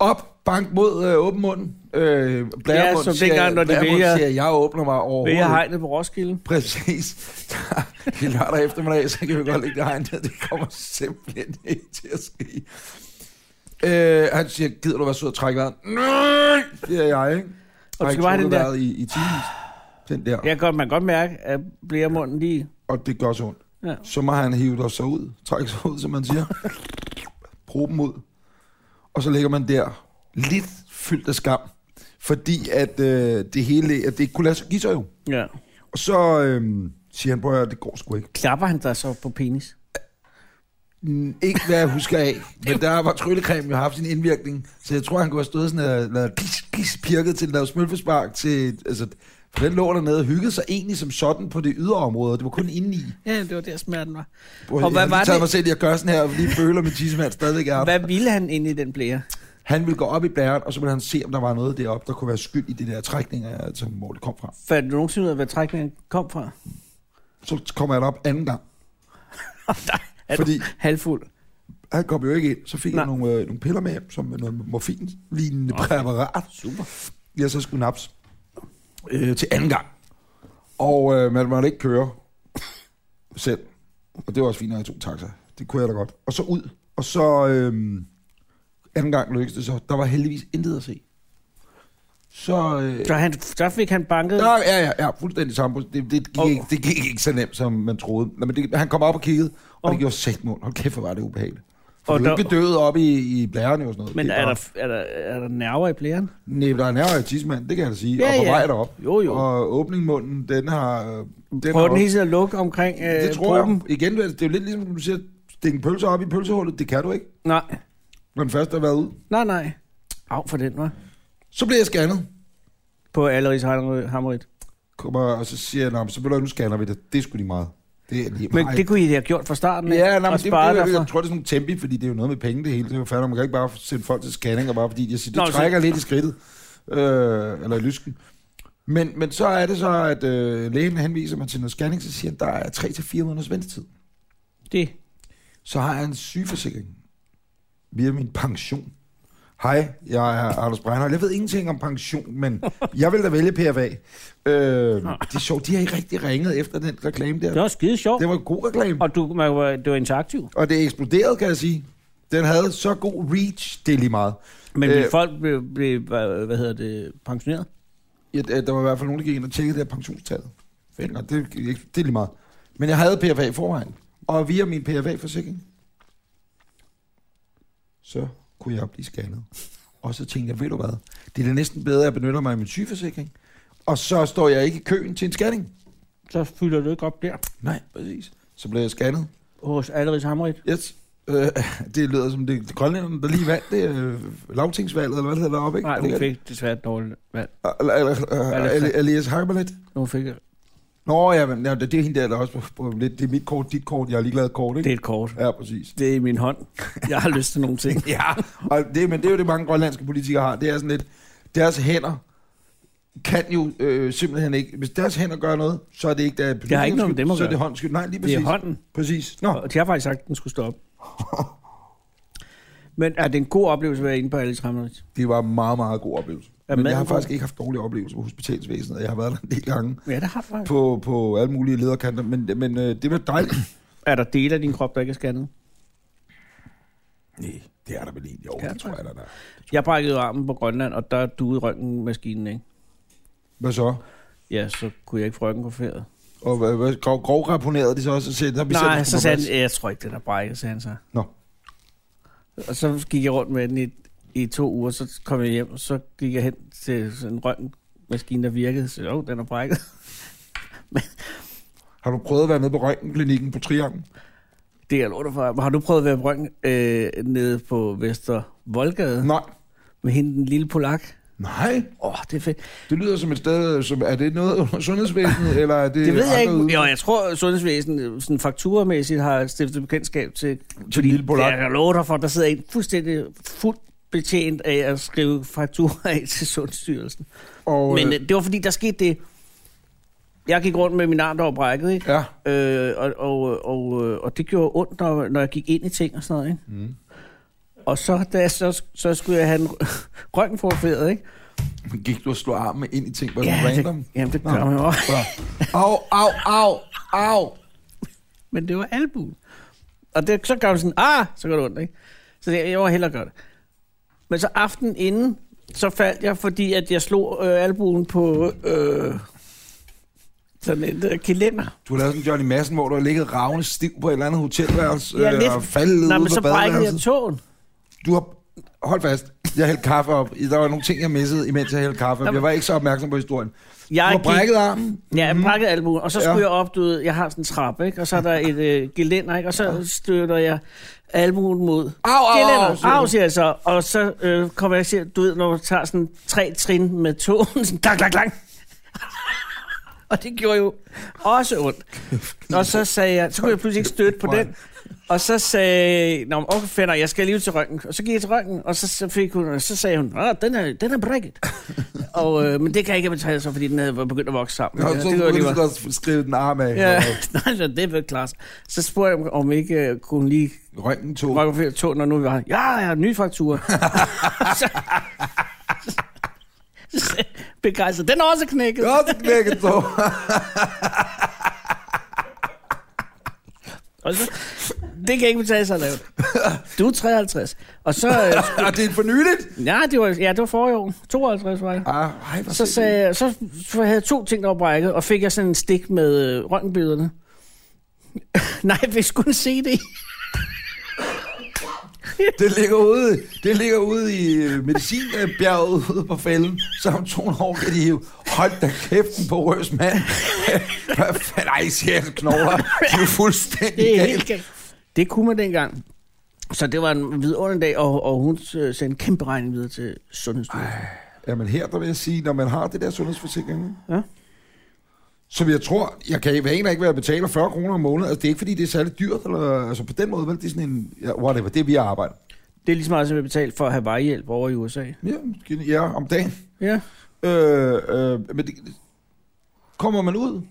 B: Op, bank mod øh, åben mund. Øh, blæremund,
C: som
B: siger,
C: dengang, når de
B: blæremund
C: vælger-
B: siger, jeg åbner mig
C: Ved
B: overhovedet.
C: jeg hegnet på Roskilde?
B: Præcis. Det er lørdag eftermiddag, så kan vi godt lægge det hegnet. Det kommer simpelthen ikke til at ske. Øh, han siger, gider du være sød og trække vejret? Nej, det er jeg, ikke?
C: Og du
B: Har
C: skal
B: ikke
C: bare have
B: trukket
C: den der-
B: vejret i, i timen. Den der.
C: Jeg kan godt, man kan godt mærke, at bliver munden lige...
B: Og det gør så ondt.
C: Ja.
B: Så må han hive dig så ud. Trække sig ud, som man siger. Brug dem ud. Og så ligger man der, lidt fyldt af skam. Fordi at øh, det hele, at det ikke kunne lade sig give sig jo.
C: ja.
B: Og så øh, siger han, prøv at høre, det går sgu ikke.
C: Klapper han dig så på penis?
B: Mm, Ikke hvad jeg husker af, men der var tryllecremen jo haft sin indvirkning, så jeg tror, han kunne have stået sådan og lavet kis, kis, pirket til, lavet smølfespark til, altså, for den lå dernede og hyggede sig egentlig som sådan på det ydre område, det var kun indeni.
C: Ja, det var der smerten var.
B: Hvor
C: Og hvad
B: jeg
C: var
B: har taget
C: det-
B: mig selv i at gøre sådan her, og lige føler, at min tissemand stadigvæk er der.
C: Hvad ville han inde i den blære?
B: Han ville gå op i blæren, og så ville han se, om der var noget deroppe, der kunne være skyld i de der trækninger, altså, hvor det kom fra.
C: Fandt du nogensinde ud af, hvad trækningen kom fra?
B: Så kommer jeg derop anden gang.
C: Er Fordi...
B: Fordi-
C: du halvfuld?
B: Han kom jo ikke ind, så fik
C: Nej.
B: jeg nogle, øh, nogle piller med hjem, som er noget morfin-lignende præparat. Super. Jeg så skulle naps øh, til anden gang. Og øh, man måtte ikke køre selv. Og det var også fint, når jeg tog taxa. Det kunne jeg da godt. Og så ud. Og så øh, anden gang lykkedes det så. Der var heldigvis intet at se. Så... Øh,
C: Så, han, så fik han banket...
B: Ja, ja, ja, ja fuldstændig samme. proces. Det, det, gik
C: Og-
B: ikke, det gik ikke så nemt, som man troede. Nå, men det, han kom op og kiggede, og
C: Og-
B: det gjorde sæt mål. Hold kæft, hvor var det ubehageligt. For
C: Og
B: og du er
C: der-
B: ikke død op i, i blærerne og sådan noget.
C: Men
B: det
C: er
B: bare-
C: der, er, der, er der nerver i blæren?
B: Nej, der er nærmere tidsmand, det kan jeg da sige.
C: Ja,
B: Ja, og på
C: ja.
B: vej derop.
C: Jo, jo.
B: Og åbningmunden, den har... øh, Den
C: Prøver
B: har
C: den
B: også-
C: hele tiden at lukke omkring øh,
B: det tror
C: proben?
B: jeg. Igen, det er det er jo lidt ligesom, du siger, stikke en pølse op i pølsehullet. Det kan du ikke,
C: Nej,
B: når den første har været ud.
C: nej, nej. Af for den, var.
B: Så bliver jeg scannet.
C: På Aleris Hammerit.
B: Kommer, og så siger jeg, "Nå, men så vil du, nu scanner vi det. Det er sgu lige meget. Det er lige
C: Men
B: meget.
C: det kunne I have gjort fra starten, ikke?
B: Ja, nej, men
C: og
B: det, det,
C: spare
B: jeg,
C: derfor.
B: jeg tror, det er sådan nogle tempi, fordi det er jo noget med penge det hele. Det er jo fandme, man kan ikke bare sende folk til scanning, og bare fordi jeg siger, det
C: Nå,
B: Nå,
C: så-
B: trækker så... lidt i skridtet, øh, eller i lysken. Men, men så er det så, at øh, lægen henviser mig til noget scanning, så siger han, der er 3-4 måneders ventetid.
C: Det.
B: Så har jeg en sygeforsikring via min pension. Hej, jeg er Anders Breinholt. Jeg ved ingenting om pension, men jeg vil da vælge PFA. Øh, det er sjovt, de har ikke rigtig ringet efter den reklame
C: det
B: der.
C: var skide sjovt.
B: Det var en god reklame.
C: Og du, man var, det var interaktiv.
B: Og det eksploderede, kan jeg sige. Den havde så god reach, det er lige meget.
C: Men øh,
B: Øh.
C: folk blev, blev hvad, hvad hedder det, pensioneret.
B: Ja, der der var i hvert fald nogen, der gik ind og tjekkede det her pensionstallet. Fænger, det, det er lige meget. Men jeg havde PFA i forvejen. Og via min PFA-forsikring, så kunne jeg blive scannet. Og så tænkte jeg, ved du hvad, det er da næsten bedre, at jeg benytter mig af min sygeforsikring. Og så står jeg ikke i køen til en scanning.
C: Så fylder du ikke op der
B: Nej, præcis. Så blev jeg scannet.
C: hos Aleris Hammerit.
B: Yes. Øh, det lyder som det, det grønlænderne, der lige vandt det øh, lavtingsvalget, eller hvad det hedder deroppe, ikke?
C: Nej,
B: det,
C: hun fik desværre et dårligt valg.
B: Eller- eller-
C: Eller-
B: øh, Eli- Elias Harbalet.
C: Hun fik,
B: Nå, ja, men, ja, det er hende der, der også på, på lidt. Det er mit kort, dit kort, jeg er ligeglad kort,
C: det er
B: ikke?
C: et kort.
B: Ja, præcis.
C: Det er i min hånd. Jeg har lyst til nogle ting.
B: Ja, og det, men det er jo det, mange grønlandske politikere har. Det er sådan lidt, deres hænder kan jo øh, simpelthen ikke... Hvis deres hænder gør noget, så er det ikke der
C: Det har ikke noget med dem at
B: Så er det
C: gøre.
B: håndskyld. Nej, lige
C: Det
B: præcis.
C: er hånden.
B: Præcis. Nå,
C: Og de har faktisk sagt, at den skulle stoppe. Men er det en god oplevelse at være inde på Aleris Hammerit?
B: det var en meget, meget god oplevelse.
C: Er
B: Men
C: maden
B: jeg har
C: god?
B: faktisk ikke haft dårlige oplevelser på hospitalsvæsenet. Jeg har været der en del gange
C: Ja, det har du faktisk.
B: på, på alle mulige lederkanter, men, men øh, det var dejligt.
C: Er der dele af din krop, der ikke er scannet?
B: Nej, det er der vel egentlig. Jo,
C: Ja,
B: det tror jeg, der er.
C: Jeg brækkede jo armen på Grønland, og der duede røntgenmaskinen, ikke?
B: Hvad så?
C: Ja, så kunne jeg ikke få røntgen på færet.
B: Og hvad, hvad, grov, grov rapponerede de så også? og Sagde, "Nå, vi sætter
C: Nej,
B: den
C: så
B: på
C: sagde
B: plads."
C: han, "Ja, jeg tror ikke, den er brækket, sagde han så.
B: Nå.
C: Og så gik jeg rundt med den i, i to uger, så kom jeg hjem, så gik jeg hen til sådan en røntgenmaskine, der virkede, så jo, den er brækket.
B: Har du prøvet at være nede på røntgenklinikken på Triangen?
C: Det er lort for. Har du prøvet at være på røntgen øh, nede på Vester Voldgade
B: Nej.
C: med hende, den lille polak?
B: Nej.
C: Åh, oh, det er fedt.
B: Det lyder som et sted, som, er det noget under sundhedsvæsenet, eller er det,
C: Det ved jeg
B: andre
C: ikke.
B: ude-
C: Jo, jeg tror, at sundhedsvæsenet sådan fakturemæssigt har stiftet bekendtskab til...
B: Til den lille polak.
C: Jeg lover dig for, der sidder en fuldstændig fuldt betjent af at skrive fakturer af til Sundhedsstyrelsen.
B: Og,
C: Men
B: øh,
C: øh, det var fordi, der skete det... Jeg gik rundt med min arm, der var brækket, ikke?
B: ja.
C: Øh, og, og, og, øh, og det gjorde ondt, når, når jeg gik ind i ting og sådan noget, ikke? Mm. Og så, da jeg, så, så skulle jeg have en røntgenfotograferet, ikke?
B: Gik du og slog armen ind i ting, bare ja, random? ah.
C: det, jamen, det
B: Nå.
C: gør man jo også.
B: Ja. Au, au, au, au.
C: Men det var albuen. Og det, så gør man sådan, ah, så gør det ondt, ikke? Så det, jeg var hellere gøre det. Men så aftenen inden, så faldt jeg, fordi at jeg slog øh, albuen på øh, sådan et øh, kalender.
B: Du har lavet sådan en Johnny Madsen, hvor du har ligget ravne stiv på et eller andet hotelværelse, øh,
C: Ja, lidt.
B: og faldet
C: Nej,
B: ud
C: men
B: på
C: så brækkede jeg
B: badeværelset.
C: tåen.
B: Du har... Hold fast. Jeg hældte kaffe op. Der var nogle ting, jeg missede, imens jeg hældte kaffe op.
C: Jamen-
B: Jeg var ikke så opmærksom på historien. Du
C: Jeg
B: har brækket armen.
C: Ja, jeg brækkede albuen, og så skulle
B: Mhm. Ja.
C: ja. jeg op, du ved, jeg har sådan en trappe, ikke? Og så er der et øh, gelænder, ikke? Og så støtter jeg albuen mod
B: Au, au, au,
C: gelænder.
B: siger du.
C: Au, siger jeg så. Og så øh, kommer jeg til, du ved, når du tager sådan tre trin med tåen, sådan klang, klang, klang. og det gjorde jo også ondt. Og så sagde jeg, så kunne jeg pludselig ikke støtte på den. Og så sagde Nå, men okay, fænder, jeg skal lige til røntgen. Og så gik jeg til røntgen, og så, så, fik hun, og så sagde hun, "Nå, den er, den er brækket. og, øh, men det kan jeg ikke betale sig, fordi den havde begyndt at vokse sammen.
B: Og
C: Ja,
B: så
C: det kunne jeg lige
B: begyndte
C: meget.
B: du at skrive den arm af.
C: Ja, nej, så det vil klare sig. Så spurgte jeg, om ikke øh, kunne hun lige
B: Røntgen tog.
C: røkke tog, når nu vi var her. Ja, jeg har en ny faktur. så, så- begejstret. Den er også knækket.
B: Ja, så knækkede tog.
C: Og så, det kan ikke betale sig at lave. Du er 53. Og så... Øh,
B: Og det er for nyligt.
C: ja, det var, ja, det var forrige år. 52 var jeg.
B: Ah, ej, hvor
C: Så,
B: sindssygt.
C: sagde, jeg- så, så havde jeg to ting, der var brækket, og fik jeg sådan en stik med øh, røntgenbillederne. Nej, vi skulle se det.
B: Det ligger ude, det ligger ude i øh, medicinbjerget ude på fælden, så om 200 år kan de hive. Hold da kæften på røs mand. Hvad fanden? Ej, sjæl knogler. Det er jo fuldstændig
C: Det er helt
B: galt.
C: galt. Det kunne man dengang. Så det var en vidunderlig dag, og, og hun øh, sendte en kæmpe regning videre til Sundhedsstyrelsen.
B: Jamen her, der vil jeg sige, når man har det der sundhedsforsikring,
C: Ja.
B: som jeg tror, jeg kan jeg aner ikke, hvad jeg betaler 40 kroner om måneden. Altså, det er ikke, fordi det er særlig dyrt, eller, altså på den måde, vel, det er sådan en, ja, whatever, det er vi arbejder.
C: Det er ligesom meget, som jeg betalte for at have vejhjælp over i USA.
B: Ja, gen- ja om dagen.
C: Ja.
B: Øh, øh, men det, kommer man ud,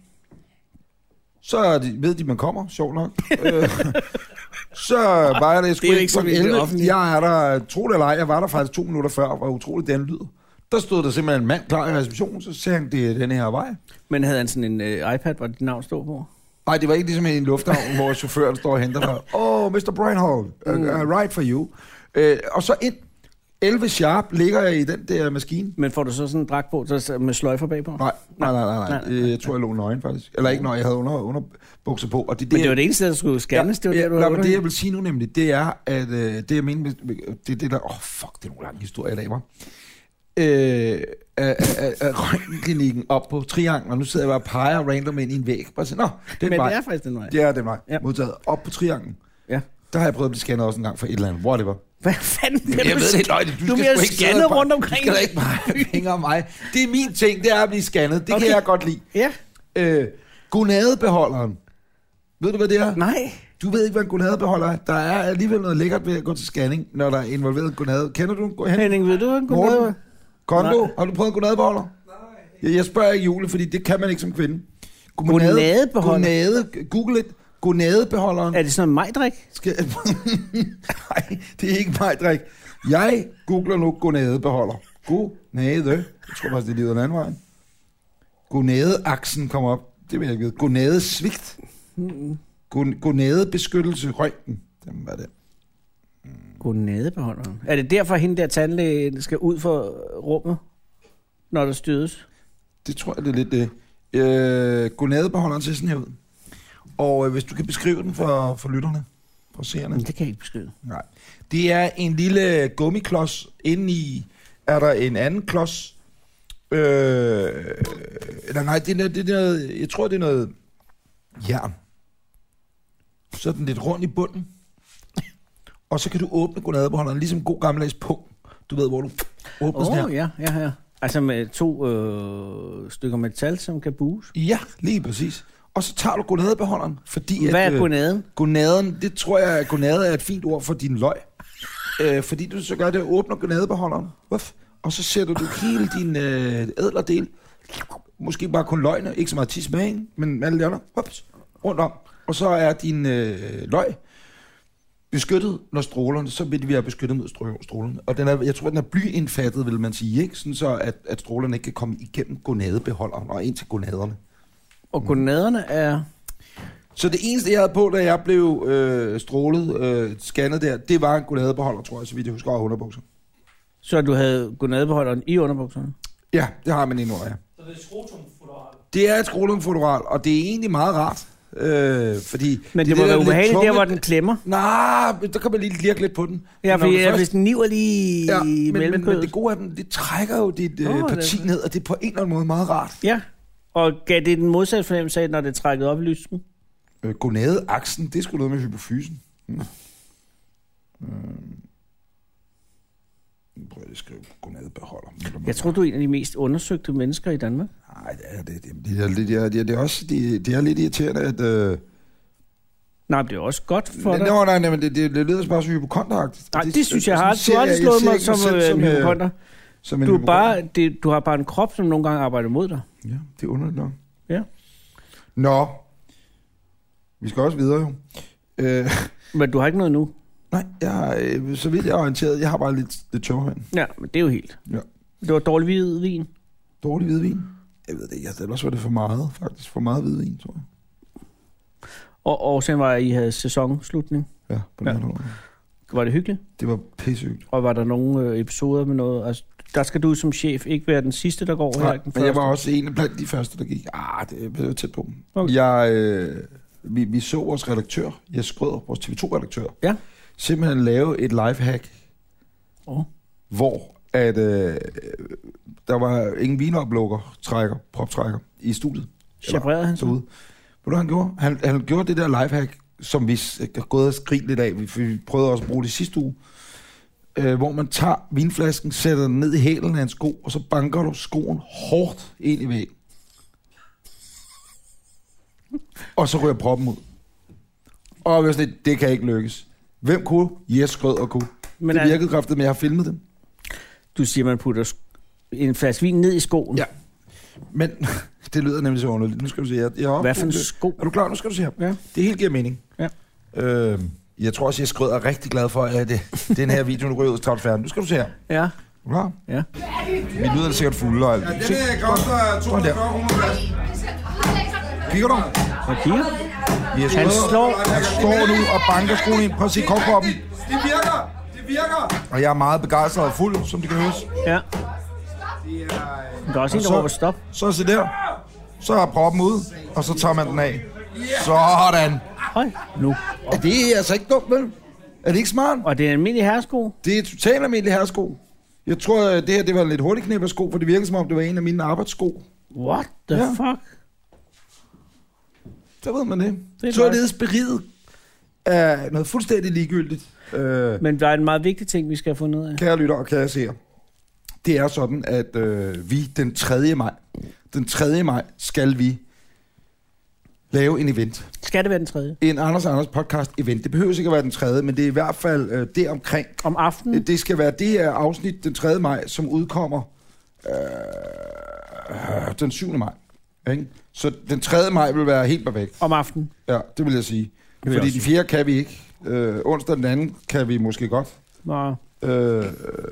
B: så er de, ved de, man kommer, sjovt nok. øh, så var jeg der, jeg skulle
C: Det er jo
B: ind
C: ikke så
B: klokken
C: vildt, det
B: 11.
C: offentlige.
B: Jeg er der, tro det eller ej, jeg var der faktisk to minutter før, og var utroligt, den lyder. Der stod der simpelthen en mand klar i receptionen, så sagde han, det er den her vej.
C: Men havde han sådan en øh, iPad, hvor dit navn stod på?
B: Nej, det var ikke ligesom i en lufthavn, hvor chaufføren står og henter dig. Oh, Mr. Breinhold,
C: Mm.
B: uh, uh, right for you. Uh, og så ind. 11 sharp ligger jeg i den der maskine.
C: Men får du så sådan en dragt på så- så med sløjfer bagpå?
B: Nej, nej, nej, nej. nej.
C: Nej, nej,
B: Øh, Jeg tror, jeg lå nøgen faktisk. Eller ikke, når jeg havde under, underbukser på. Og det,
C: Men det var det eneste, der skulle scannes. det var det, du
B: nej,
C: havde
B: men det, jeg
C: det,
B: vil sige nu nemlig, det er, at øh, det, jeg mener, med- med- det er det der... Åh, oh, fuck, det er nogle lange historier i dag, var. Øh, af, af, af røntgenklinikken op på Triangel, og nu sidder jeg bare og peger random ind i en væg. Bare sådan, nå, den
C: Men
B: vej.
C: det er faktisk den vej.
B: Det er den vej. Ja.
C: Ja.
B: Modtaget op på Triangel.
C: Ja.
B: Der har jeg prøvet at blive scannet også en gang for et eller andet. Whatever.
C: Hvad fanden bliver
B: Jeg
C: du
B: ved det er
C: scannet?
B: løgn.
C: Du bliver scannet rundt omkring.
B: Du skal da ikke bare fingre af mig. Det er min ting, det er at blive scannet. Det okay. kan
C: Okay.
B: jeg godt lide.
C: Ja.
B: Øh, gonadebeholderen. Ved du, hvad det er?
C: Nej.
B: Du ved ikke, hvad en gonadebeholder er. Der er alligevel noget lækkert ved at gå til scanning, når der er involveret en gonade. Kender du en gonade?
C: Henning, ved du, hvad en gonade?
B: Kondo,
C: Nej.
B: har du prøvet en gonadebeholder? Nej. Jeg spørger ikke Jule, fordi det kan man ikke som kvinde.
C: Gonadebeholder?
B: Gonade, google it. Gonadebeholderen.
C: Er det sådan en majdrik?
B: Skal... Nej, det er ikke mig, drik. Jeg googler nu gonadebeholder. Gonade. Jeg tror faktisk, det lyder den anden vej. Gonadeaksen kommer op. Det vil jeg ikke vide. Gonadesvigt. Gon- Gonadebeskyttelse. Røntgen. Den var det.
C: Gonadebeholderen. Er det derfor, hende der tandlæge skal ud for rummet, når der stydes?
B: Det tror jeg, det er lidt det. Øh, gonadebeholderen ser sådan her ud. Og øh, hvis du kan beskrive den for, for lytterne, for seerne.
C: Men det kan jeg ikke beskrive.
B: Nej. Det er en lille gummiklods. Indeni er der en anden klods. Øh, nej, nej, det er, noget- det er noget, jeg tror, det er noget jern. Så er den lidt rund i bunden. Og så kan du åbne gonadebeholderen, ligesom god gammeldags pung. Du ved, hvor du åbner oh, sådan
C: Åh,
B: her.
C: oh, ja, ja, ja. Altså med to øh, stykker metal, som kan buges.
B: Ja, lige præcis. Og så tager du gonadebeholderen, fordi...
C: Hvad er
B: øh,
C: gonaden?
B: Gonaden, det tror jeg, at gonade er et fint ord for din løg. Øh, fordi du så gør det, åbner gonadebeholderen, Uff. og så sætter du hele din øh, ædlerdel, måske bare kun løgne, ikke så meget tis med, ikke? men alle de andre, Ups. rundt om. Og så er din øh, løg beskyttet, når strålerne, så vil vi være beskyttet mod strå- strålerne. Og den er, jeg tror, den er blyindfattet, vil man sige, ikke? Sådan så, at, at strålerne ikke kan komme igennem gonadebeholderen og ind til gonaderne.
C: Og gonaderne er...
B: Så det eneste, jeg havde på, da jeg blev øh, strålet, øh, scannet der, det var en gonadebeholder, tror jeg, så vidt jeg husker, og underbukser.
C: Så du havde gonadebeholderen i underbukserne?
B: Ja, det har man endnu, ja.
D: Så det er skrotumfotorat.
B: Det er et skrolumfotoral, og det er egentlig meget rart, øh, fordi...
C: Men det,
B: er
C: det må
B: der
C: være
B: lidt
C: ubehageligt der,
B: tunge-
C: hvor den klemmer.
B: Nej, men der kan man lige lirke lidt på den.
C: Ja,
B: Men når
C: fordi
B: du
C: ja,
B: først-
C: hvis den niver lige
B: Ja,
C: ja, i
B: men, men, men
C: mellemkødet.
B: det gode af den, det trækker jo dit øh,
C: Åh,
B: oh,
C: det-
B: parti ned, og det er på en eller anden måde meget rart.
C: Ja, og gav det den modsatte fornemmelse af, når det trækkede op i lysken?
B: Øh, gonadeaksen, det er sgu noget med hypofysen. Mm. Øh, prøv lige at skrive gonadebeholder.
C: Jeg tror, du er en af de mest undersøgte mennesker i Danmark.
B: Nej, det er, det, det, det, er, lidt- det, er, det, er, det er også det, det er lidt irriterende, at... Øh,
C: Nej, men det er også godt for
B: nej,
C: dig.
B: nej, nej, nej, men det, det, det lyder bare som hypokonteragtigt.
C: Nej, det synes jeg
B: sådan
C: har. Du
B: ser
C: har aldrig slået
B: ser
C: mig
B: ikke
C: som,
B: selv
C: øh, en
B: øh,
C: hypokonter.
B: som en
C: Du, er
B: hypokonter.
C: bare, det, du har bare en krop, som nogle gange arbejder mod dig.
B: Ja, det er underligt nok.
C: Ja.
B: Nå, vi skal også videre jo. Øh,
C: Men du har ikke noget nu.
B: nej, jeg, har, øh, så vidt jeg er orienteret, jeg har bare lidt, lidt tørhøjn.
C: Ja, men det er jo helt.
B: Ja.
C: Det var dårlig hvid vin.
B: Dårlig hvidvin? Jeg ved det ikke, altså, ellers var det for meget, faktisk. For meget hvidvin, tror jeg.
C: Og årsagen var, at I havde sæsonslutning.
B: Ja, på den
C: Ja.
B: ja. måde.
C: Var det hyggeligt?
B: Det var pissehygt.
C: Og var der nogle øh, episoder med noget? Altså, der skal du som chef ikke være den sidste, der går her.
B: Nej,
C: ikke Den
B: men jeg
C: første.
B: var også en blandt de første, der gik. Ah, det blev tæt på.
C: Okay.
B: Okay. Jeg, øh, vi, vi så vores redaktør, jeg Skrøder, vores TV2-redaktør,
C: Ja.
B: simpelthen lave et lifehack,
C: Åh.
B: hvor at, øh, der var ingen vinoplukker, trækker, proptrækker i studiet
C: Chabrerede han så?
B: derude. Ved du, hvad han gjorde? Han, han gjorde det der lifehack, som vi s- har gået og skridt lidt af. Vi, vi prøvede også at bruge det sidste uge. Øh, hvor man tager vinflasken, sætter den ned i hælen af en sko, og så banker du skoen hårdt ind i væggen. Og så ryger proppen ud. Og jeg var sådan lidt, det kan ikke lykkes. Hvem kunne? Jes Skrød og kunne.
C: Men
B: det
C: altså-
B: virkede kraftigt, men jeg har filmet det.
C: Du siger, man putter sk- en flaske vin ned i skoen.
B: Ja. Men det lyder nemlig så underligt. Nu skal du se, jeg, jeg
C: Hvad for en
B: opdagede-
C: sko?
B: Er du klar? Nu skal du se her.
C: Ja.
B: Det hele giver mening.
C: Ja.
B: Øh, jeg tror også, jeg skrød er rigtig glad for, at øh, det, den her video nu ryger ud til færden. Nu skal du se her. Er
C: Ja.
B: du klar?
C: Ja.
B: Min lyd er sikkert fuld. Og alt. Ja, den koster 240 kroner. Kigger du?
C: Og kigger.
B: Yes,
C: Han slår.
B: Han står nu og banker skoen ind. Prøv at se kopproppen.
G: Det virker! Det virker!
B: Og jeg er meget begejstret og fuld, som det kan høres.
C: Ja. Der er også en, der
B: så-
C: råber stop.
B: Så se der. Så er proppen ud, og så tager man den af. Sådan.
C: Hold nu.
B: Er det altså ikke dumt, vel? Er det ikke smart?
C: Og det er en almindelig herresko.
B: Det er totalt almindelig herresko. Jeg tror, øh, det her det var en lidt hurtig knæb af sko, for det virkede som om, det var en af mine arbejdssko.
C: What the
B: Ja.
C: ja. fuck?
B: Så ved man det.
C: Det er
B: det så er
C: godt.
B: det beriget af noget fuldstændig ligegyldigt. Øh,
C: Men der er en meget vigtig ting, vi skal have fundet ud af.
B: kære lytter og kære seere, det er sådan, at øh, vi den 3. maj, den 3. maj skal vi lave en event.
C: Skal det være den tredje?
B: En Anders og Anders podcast event. Det behøver ikke at være den 3., men det er i hvert fald øh, det omkring.
C: Om aftenen?
B: Det skal være det her afsnit den 3. maj, som udkommer øh, den 7. maj. Ikke? Så den 3. maj vil være helt perfekt.
C: Om aftenen.
B: Ja, det vil jeg sige.
C: vil jeg
B: Fordi
C: også
B: den 4. kan vi ikke. Øh, onsdag den anden kan vi måske godt.
C: Nå.
B: Øh,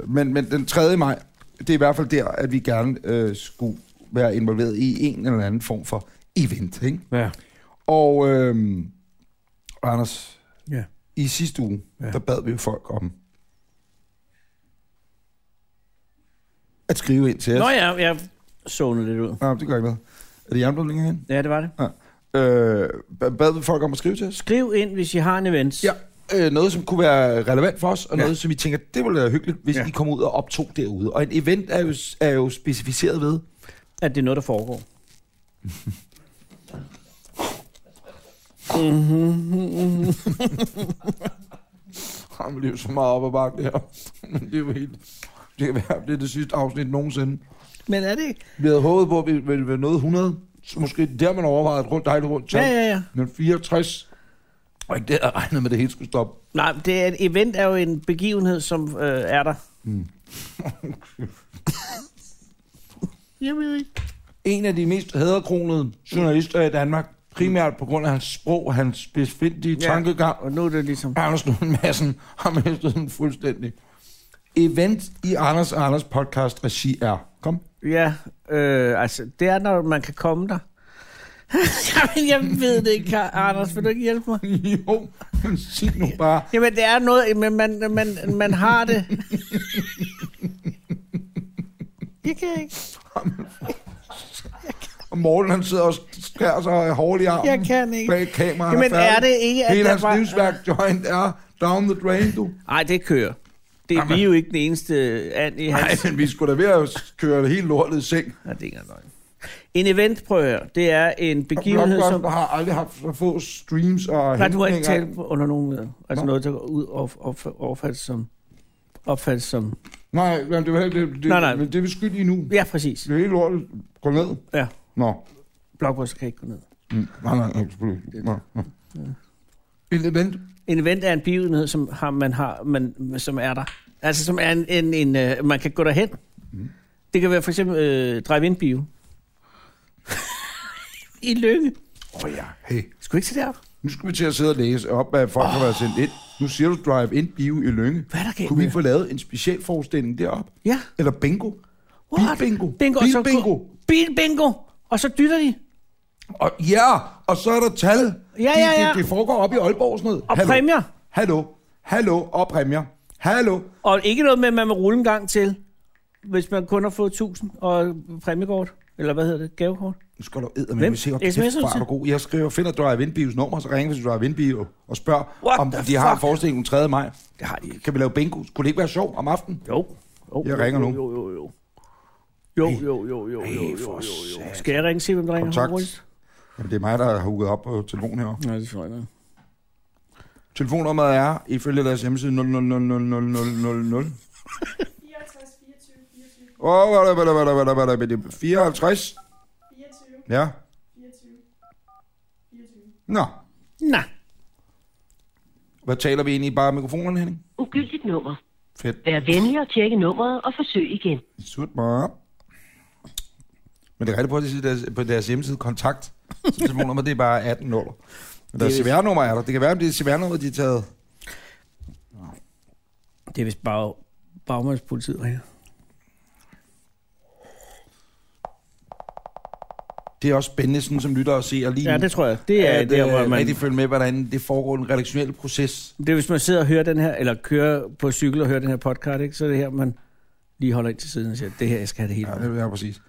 B: men, men den 3. maj, det er i hvert fald der, at vi gerne øh, skulle være involveret i en eller anden form for event. Ikke?
C: Ja.
B: Og øh, Anders,
C: Ja.
B: i sidste uge,
C: Ja.
B: ja. der bad vi jo folk om at skrive ind til os.
C: Nå ja, jeg zonede lidt ud.
B: Nå, det gør ikke noget. Er det jernblomling igen?
C: Ja, det var det.
B: Øh, hvad- hvad vil folk om at skrive til os?
C: Skriv ind, hvis I har en event.
B: Ja, øh, noget, som kunne være relevant for os, og
A: Ja.
B: ja. noget, som vi tænker, det ville være hyggeligt, hvis
A: Ja.
B: ja. I kom ud og optog derude. Og et event er jo, er jo specificeret ved,
C: At det er noget, der foregår.
B: har man jo så meget op ad bakke det her. det er jo helt... Det kan være, det er det sidste afsnit nogensinde.
C: Men er det ikke?
B: Vi havde håbet på, at vi ville være noget 100. Så måske der, man overvejede et rundt, dejligt rundt tal.
C: Ja, ja, ja.
B: Men 64. Og ikke det, jeg regnede med, at det hele skulle stoppe.
C: Nej, men det er, et event er jo en begivenhed, som øh, er der. Jeg ved ikke.
B: En af de mest haderkronede journalister i Danmark, primært på grund af hans sprog og hans besvindelige
C: Ja.
B: ja. tankegang,
C: Og nu er det ligesom...
B: Anders Lund Madsen har mistet den fuldstændig. Event i Anders og Anders podcast regi er. Kom.
C: Ja, øh, altså, det er, når man kan komme der. Jamen, jeg ved det ikke, Kar- Anders. Vil du ikke hjælpe mig?
B: jo, men sig nu bare.
C: Jamen, det er noget, men man, man, man har det. Jeg kan ikke.
B: Og Morten han sidder og skærer sig hårdt i armen.
C: Jeg kan ikke.
B: Bag kameraet
C: Jamen,
B: han færdig.
C: er det ikke, at
B: Hele
C: der
B: hans
C: var-
B: livsværk joint er down the drain, du.
C: Nej, det kører. Det er
B: Jamen.
C: vi er jo ikke den eneste and i
B: Nej,
C: hans...
B: men vi skulle da ved at køre det helt lortet i seng.
C: Nej, det er ikke engang løgn. En event, prøv at høre, det er en begivenhed,
B: Blockbuster
C: som...
B: har aldrig haft så få streams og
C: Nej, du har ikke
B: hentninger.
C: talt under nogen leder. Altså
B: Nå.
C: noget, der går ud og op, opfattes som... Opfattes som...
B: Nej, men det, var heller ikke- det, det,
C: Nej, nej.
B: Men det er vi skyld i nu.
C: Ja, præcis.
B: Det er helt lortet. Gå ned.
C: Ja,
B: Nå.
C: Blockbuster kan ikke gå ned.
B: Mm. Nej, nej, nej, selvfølgelig. Nå, nå. Et event.
C: En event er en begivenhed, som har, man har, man, som er der. Altså, som er en, en, en øh, man kan gå derhen.
B: Mm.
C: Det kan være for eksempel øh, drive-in bio. I lykke.
B: Åh oh, ja, hey.
C: Skulle ikke se derop?
B: Nu skal vi til at sidde og læse op, hvad folk oh. har været sendt ind. Nu siger du drive-in bio i Lønge.
C: Hvad er der galt
B: Kunne vi
C: med-
B: få lavet en specialforestilling derop?
C: Ja.
B: Eller bingo?
C: What?
B: Bilbingo.
C: Bingo. og så-
B: Bilbingo.
C: Bilbingo. Og så dytter de.
B: Og, ja, og så er der tal.
C: Ja, ja, ja.
B: Det, det foregår op i Aalborg og sådan noget.
C: Og præmier.
B: Hallo. Hallo. Og præmier. Hallo.
C: Og ikke noget med, at man må rulle en gang til, hvis man kun har fået 1000 og præmiekort. Eller hvad hedder det? Gavekort.
B: Nu skal du eddermame
C: Hvem?
B: se, hvor
C: SMS'er
B: kæft, hvor er
C: til?
B: du god. Jeg skriver, finder Drive Indbios nummer, så ringer vi til Drive Indbio og spørger,
C: What
B: om de
C: the
B: har en
C: fuck?
B: forestilling den 3. maj.
C: Det har de ikke.
B: Kan vi lave bingo? Kunne det ikke være sjovt om aftenen?
C: Jo. jo
B: Jeg
C: jo,
B: ringer
C: jo,
B: nu.
C: Jo, jo, jo. Jo, jo, jo, jo, jo, jo, jo, jo, jo. Skal jeg ringe og se, hvem der ringer?
B: Kontakt.
C: hurtigt?
B: Jamen, det er mig, der har hugget op på telefonen herovre.
C: Nej, det tror jeg ikke.
B: Telefonnummeret er, ifølge deres hjemmeside, 00000000. Åh, hvad er der, hvad er der, hvad er der, hvad er der, hvad er der, hvad er der, 54? Ja. Nå,
C: Nå.
B: hvad taler vi egentlig bare af mikrofonerne, Henning?
H: Ugyldigt nummer.
B: Fedt.
H: Vær venlig at tjekke nummeret og forsøg igen.
B: Sut mig op. Men det er rigtigt på, at de siger deres, på deres hjemmeside, kontakt. Så telefonnummer, det er bare 18 0. Men deres CVR-nummer er der. Det kan være, om det er CVR-nummer, de har taget.
C: Det er vist bare bagmandspolitiet ringer.
B: Det er også spændende, sådan som lytter og ser lige
C: Ja,
B: nu,
C: det tror jeg. Det er
B: at,
C: der, hvor
B: øh,
C: man...
B: rigtig følge med, hvordan det foregår den redaktionelle proces.
C: Det er, hvis man sidder og hører den her, eller kører på cykel og hører den her podcast, ikke? så er det her, man lige holder ind til siden og siger, det her, jeg skal have det hele.
B: Ja, det er præcis.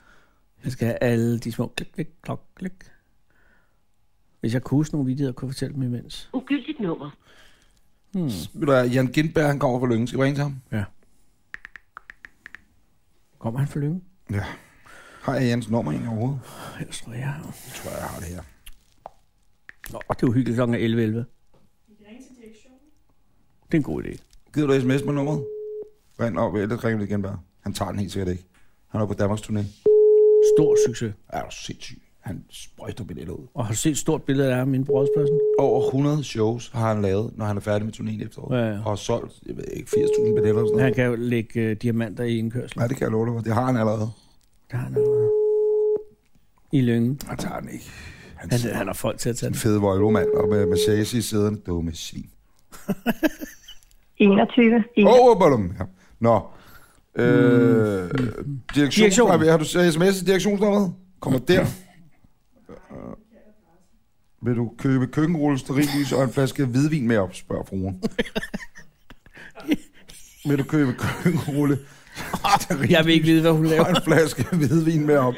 C: Jeg skal have alle de små klik, klik, klok, klik. Hvis jeg kunne huske nogle videoer, kunne jeg fortælle dem imens.
H: Ugyldigt nummer.
B: Ved du hvad, Jan Gindberg, han kommer fra Lønge. Skal vi ringe til ham?
C: Ja. Kommer han for lyngen?
B: Ja. Har jeg Jans nummer egentlig overhovedet?
C: Jeg tror, jeg har.
B: Jeg tror, jeg har det her.
C: Nå, det er uhyggeligt klokken er 11.11. 11. Det er en god idé.
B: Gider du sms med nummeret? Ring op, ellers ringer vi igen bare. Han tager den helt sikkert ikke. Han er på Danmarks turné.
C: Stor succes.
B: Er du sindssyg? Han sprøjter billetter ud.
C: Og har du set et stort billede af ham i en brødspladsen?
B: Over 100 shows har han lavet, når han er færdig med turnéen efteråret.
C: Ja, ja.
B: Og har solgt, jeg ved ikke, 80.000 billetter og sådan
C: Han
B: noget.
C: kan jo lægge øh, diamanter i indkørslen.
B: Nej, det kan jeg love dig. for. Det har han allerede.
C: Der er noget. I lyngen.
B: Han tager den ikke. Han
C: Han,
B: sidder
C: han har folk til at tage
B: en
C: det.
B: fed vojlomand og med massage i sæderne. Dumme svin.
I: 21.
B: Åh, oh, ballum. Ja. Nå. Øh, direktion,
C: Mm. Direktion.
B: direktion. Har, vi- har du sms direktionsnummeret? Kommer der. Øh, vil du købe køkkenrulle, sterillys og en flaske hvidvin med op, spørger fruen. vil du købe køkkenrulle, terrible.
C: Jeg vil ikke vide, hvad hun laver.
B: Og en flaske hvidvin med op.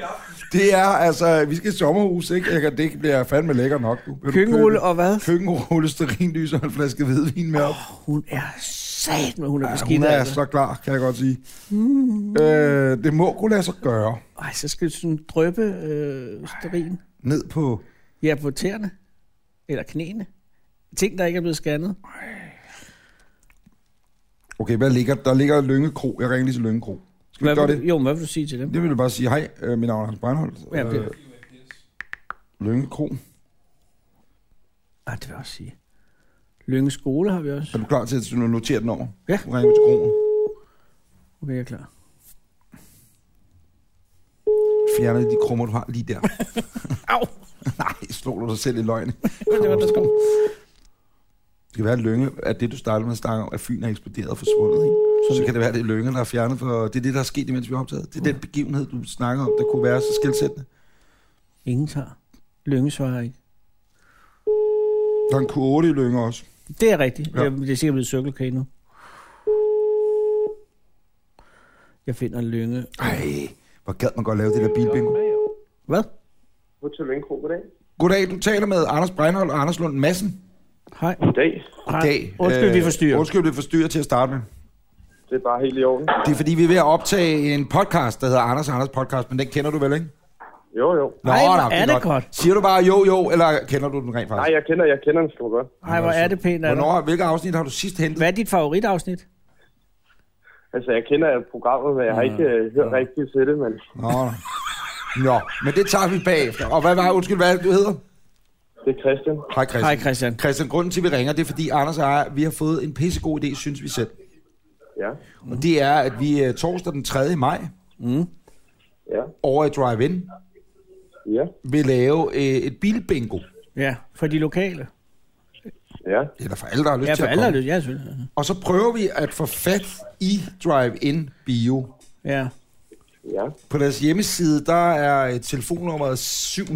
B: Det er altså, vi skal i sommerhus, ikke? Jeg kan, det bliver fandme lækker nok. Du. Vil du
C: Køkkenrulle
B: købe-
C: og hvad?
B: Køkkenrulle, sterinlys og en flaske hvidvin med op.
C: Hun er sat, men hun er
B: Ja,
C: beskidt.
B: hun er
C: altså. Mm.
B: så klar, kan jeg godt sige. Øh, det må kunne lade sig gøre.
C: Ej, så skal du sådan drøbe øh, sterin.
B: Ned på...
C: Ja, på tæerne. Eller knæene. Ting, der ikke er blevet scannet.
B: Okay, hvad ligger der? ligger Lønge Kro. Jeg ringer lige til Lønge Kro. Skal vi
C: Hvad
B: gøre
C: vil,
B: det?
C: du- jo, men hvad vil du sige til dem?
B: Det vil jeg bare sige, hej, øh, mit navn er Hans Breinholt.
C: Ja, det-
B: Øh, Lønge Kro.
C: Ah, det vil jeg også sige. Lønge skole har vi også.
B: Er du klar til at notere den over?
C: Ja.
B: Nu ringer vi til Kroen.
C: Okay, jeg er klar.
B: Fjerner de krummer, du har lige der.
C: Au!
B: Nej, slår du dig selv i løgn.
C: Det var der sko.
B: Det kan være, at Lønge, at det du startede med at snakke om, at Fyn er eksploderet og forsvundet, ikke? Så, så kan det være, at det er Lønge, der er fjernet, for det er det, der er sket, imens vi har optaget. Det er den begivenhed, du snakker om, der kunne være så skældsættende.
C: Ingen tager. Lønge svarer ikke.
B: Der er en Q8 i Lønge også.
C: Det er rigtigt.
B: Ja.
C: Ja. Det er sikkert blevet Circle K nu. Jeg finder Lønge.
B: Ej, hvor gad man godt lave det der bilbingo.
C: Hvad?
I: Hotel Lønkro, goddag.
B: Goddag, du taler med Anders Breinholt og Anders Lund Madsen.
C: Hej.
I: Goddag.
B: Goddag.
C: Undskyld, vi forstyrrer.
B: Øh, Undskyld, vi forstyrrer til at starte med.
I: Det er bare helt i orden.
B: Det er fordi, vi er ved at optage en podcast, der hedder Anders og Anders Podcast, men den kender du vel, ikke?
I: Jo, jo.
B: Nå,
C: Ej, hvor
B: nå,
C: er det godt.
B: Siger du bare jo, jo, eller kender du den rent
I: Nej,
B: faktisk?
I: jeg kender, jeg kender den sgu godt.
C: Hej, hvor er det pænt af dig.
B: Hvornår, hvilke afsnit har du sidst hentet?
C: Hvad er dit favoritafsnit?
I: Altså, jeg kender programmet, men jeg har ikke øh, hørt rigtigt til det, men
B: Nå. Nå, men det tager vi bagefter. Og hvad var, undskyld, hvad er det, du hedder?
I: det er Christian.
B: Hej Christian.
C: Hej, Christian.
B: Christian, grunden til, at vi ringer, det er fordi Anders og jeg, vi har fået en pissegod idé, synes vi selv.
I: Ja,
B: Og det er, at vi øh, torsdag den 3. maj
I: ja,
B: over i Drive-In
I: ja,
B: vil lave øh, et bilbingo.
C: Ja, for de lokale.
I: ja.
B: Eller for alle, der har lyst
C: Ja,
B: til
C: for
B: at
C: alle
B: komme.
C: har lyst. Ja, selvfølgelig.
B: Og så prøver vi at få fat i Drive-In Bio.
C: Ja.
I: ja.
B: På deres hjemmeside, der er øh, telefonnummeret 70.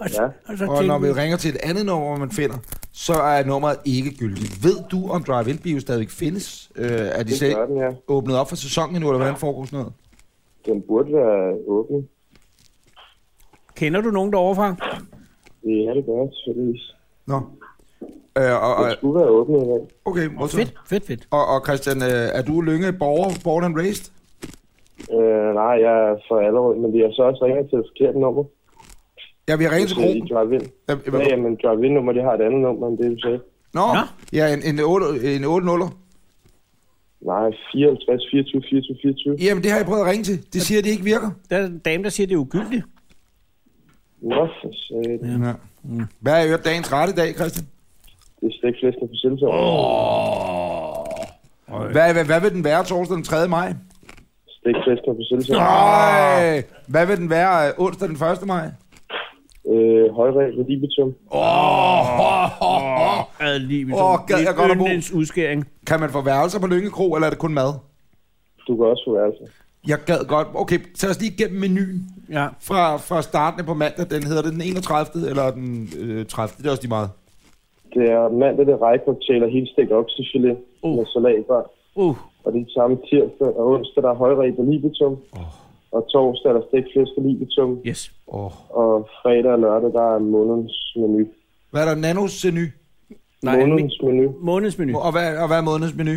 C: Og,
I: Ja.
C: og så
B: Og når
C: tænker
B: vi
C: vi,
B: ringer til et andet nummer, man finder, så er nummeret ikke gyldigt. Ved du, om Drive-In Bio stadigvæk findes? Øh, er de
I: Det
B: selv
I: gør den, ja.
B: åbnet op for sæsonen endnu, eller hvordan foregår sådan noget?
I: Den burde være åben.
C: kender du nogen derovre fra?
I: Det er det godt, selvfølgelig.
B: Nå. Øh, og, og,
I: Den skulle være åben i dag.
B: okay, hvor så?
C: Fedt, fedt, fedt.
B: Og, og Christian, øh, er du Lønge borger, born and raised?
I: Øh, nej, jeg er for allerede, men vi har så også ringet til et forkert nummer.
B: Ja, vi har ringet til
I: Det er i
B: Kroen.
I: drive-in.
B: Ja,
I: Ja,
B: ja.
I: jamen, drive-in-nummer, det har et andet nummer end det, du sagde.
B: Nå,
C: Nå.
B: ja, en, en, 8, en 8 0
I: Nej, 54, 24, 24, 24.
B: Jamen, det har jeg prøvet at ringe til. Det siger, at det ikke virker.
C: Der er en dame, der siger, det er ugyldigt.
I: Nå, for satan.
B: Ja. Mm. Hvad har I hørt dagens ret i dag, Christian?
I: Det er stegflæsken på Silsov. Oh.
B: Hvad, hvad, hvad vil den være torsdag den 3. maj?
I: Stegflæsken på Silsov.
B: Ah. Ej, hvad vil den være øh, onsdag den 1. maj?
I: Øh, højræg ved Libitum.
C: Ad livet.
B: Åh, gad jeg godt at bo.
C: udskæring.
B: Kan man få værelser på Lønge Kro, eller er det kun mad?
I: Du kan også få værelse.
B: Jeg gad godt. Okay, tag os lige igennem menuen.
C: Ja.
B: fra, fra starten af på mandag, den hedder det den 31. eller den øh, 30. Det er også lige meget.
I: Det er mandag, det er rejkoktail og helt stegt oksefilet
C: Uh.
I: uh. med salatbar.
C: Uh,
I: Og det er samme tirsdag og onsdag, der er højræg på Libitum. Oh. Og torsdag er der stegflæsk på Libitum.
C: yes.
B: Oh.
I: Og fredag og lørdag, der er månedens menu.
B: Hvad er der nanos menu?
C: Nej, min-
I: månedens menu,
C: månedsmenu.
B: Og hvad, og hvad er månedens menu?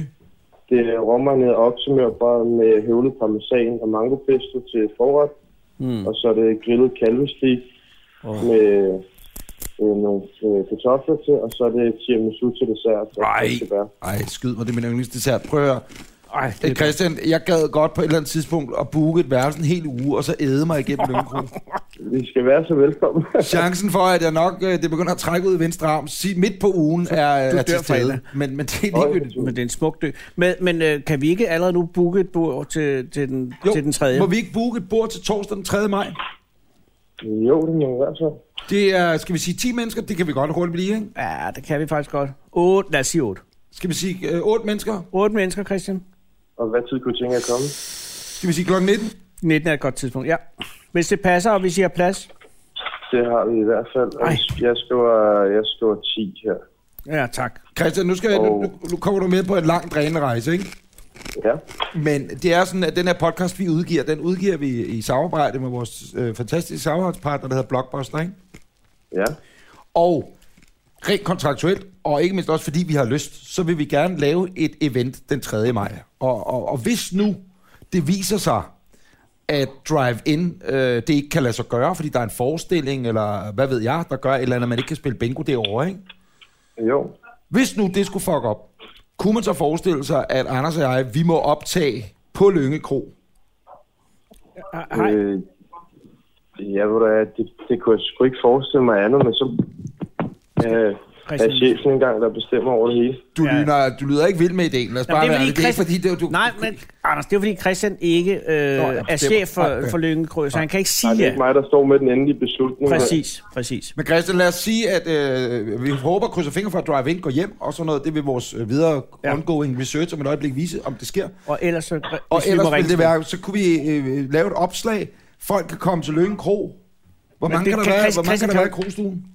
I: det er råmarineret oksemørbrød med høvlet parmesan og mangopesto til forret. Mm. Og så er det grillet kalvestik oh. med øh, nogle øh, kartofler til, og så er det tiramisu til dessert. Så
B: Ej.
I: det skal være.
B: Ej, skyd mig, det er min yndlingsdessert. Prøv at høre.
C: Ej,
B: Øh, Christian, jeg gad godt på et eller andet tidspunkt at booke et værelse en hel uge, og så æde mig igennem lønkron.
I: Vi skal være så velkommen.
B: Chancen for, at jeg nok øh, det begynder at trække ud i venstre arm, sig, midt på ugen er, øh, er til
C: dør fredag.
B: stede. Men, men det er ligegyldigt.
C: Men det er en smuk dø. Men, men øh, kan vi ikke allerede nu booke et bord til, til, den, til den tredje?
B: må vi ikke booke et bord til torsdag den 3. maj?
I: jo, det må være så.
B: Det er, skal vi sige 10 mennesker? Det kan vi godt hurtigt blive, ikke?
C: Ja, det kan vi faktisk godt. 8, lad os sige 8.
B: Skal vi sige øh, 8 mennesker?
C: 8 mennesker, Christian.
I: Og hvad tid kunne du tænke jer at komme?
B: Skal vi sige klokken 19?
C: 19 er et godt tidspunkt, ja. Hvis det passer, og vi siger plads.
I: Det har vi i hvert fald. Og
C: Ej.
I: Jeg skriver, jeg skriver 10 her.
C: Ja, tak.
B: Christian, nu, skal, oh.
I: Og-
B: nu, nu kommer du med på en lang drænerejse, ikke?
I: Ja.
B: Men det er sådan, at den her podcast, vi udgiver, den udgiver vi i samarbejde med vores øh, fantastiske samarbejdspartner, der hedder Blockbuster, ikke?
I: Ja.
B: Og rent kontraktuelt, og ikke mindst også fordi vi har lyst, så vil vi gerne lave et event den 3. maj. Og, og, og hvis nu det viser sig, at drive-in, øh, det ikke kan lade sig gøre, fordi der er en forestilling, eller hvad ved jeg, der gør et eller andet, man ikke kan spille bingo derovre, ikke?
I: Jo.
B: Hvis nu det skulle fuck op, kunne man så forestille sig, at Anders og jeg, vi må optage på Lønge Kro?
C: Ah, Hej.
I: Øh, ja, ved du hvad, det, det kunne jeg sgu ikke forestille mig andet, men så øh, er
C: Christian.
I: chefen engang, der bestemmer over det hele.
B: Du,
C: Ja.
B: ja. lyder, du lyder ikke vild med ideen, lad os
C: Nå,
B: bare
C: det er
B: være
C: fordi
B: ærlige. det er ikke
C: Christ-
B: fordi, det er du...
C: Nej, men Anders, det er fordi Christian ikke øh,
B: jeg
C: er
B: bestemmer.
C: chef for,
B: Nej,
C: for Lønge Krø, så han kan ikke
I: Nej,
C: sige
I: det er
C: ja.
I: ikke mig, der står med den endelige beslutning.
C: Præcis, præcis.
B: Men Christian, lad os sige, at øh, vi håber, krydser fingre for, at Drive-In går hjem, og sådan noget. Det vil vores øh, videre
C: Ja.
B: ja. ongoing research om et øjeblik vise, om det sker.
C: Og ellers, så, hvis
B: Og
C: vi må
B: ellers ville
C: ringe
B: det
C: til-
B: være, så kunne vi øh, lave et opslag. Folk kan komme til Lønge Kro. Hvor
C: Men
B: mange
C: det
B: kan der
C: kan
B: være,
C: Christ-
B: hvor mange kan
C: Christian,
B: der
C: kan
B: være i
C: du-
B: krogstuen?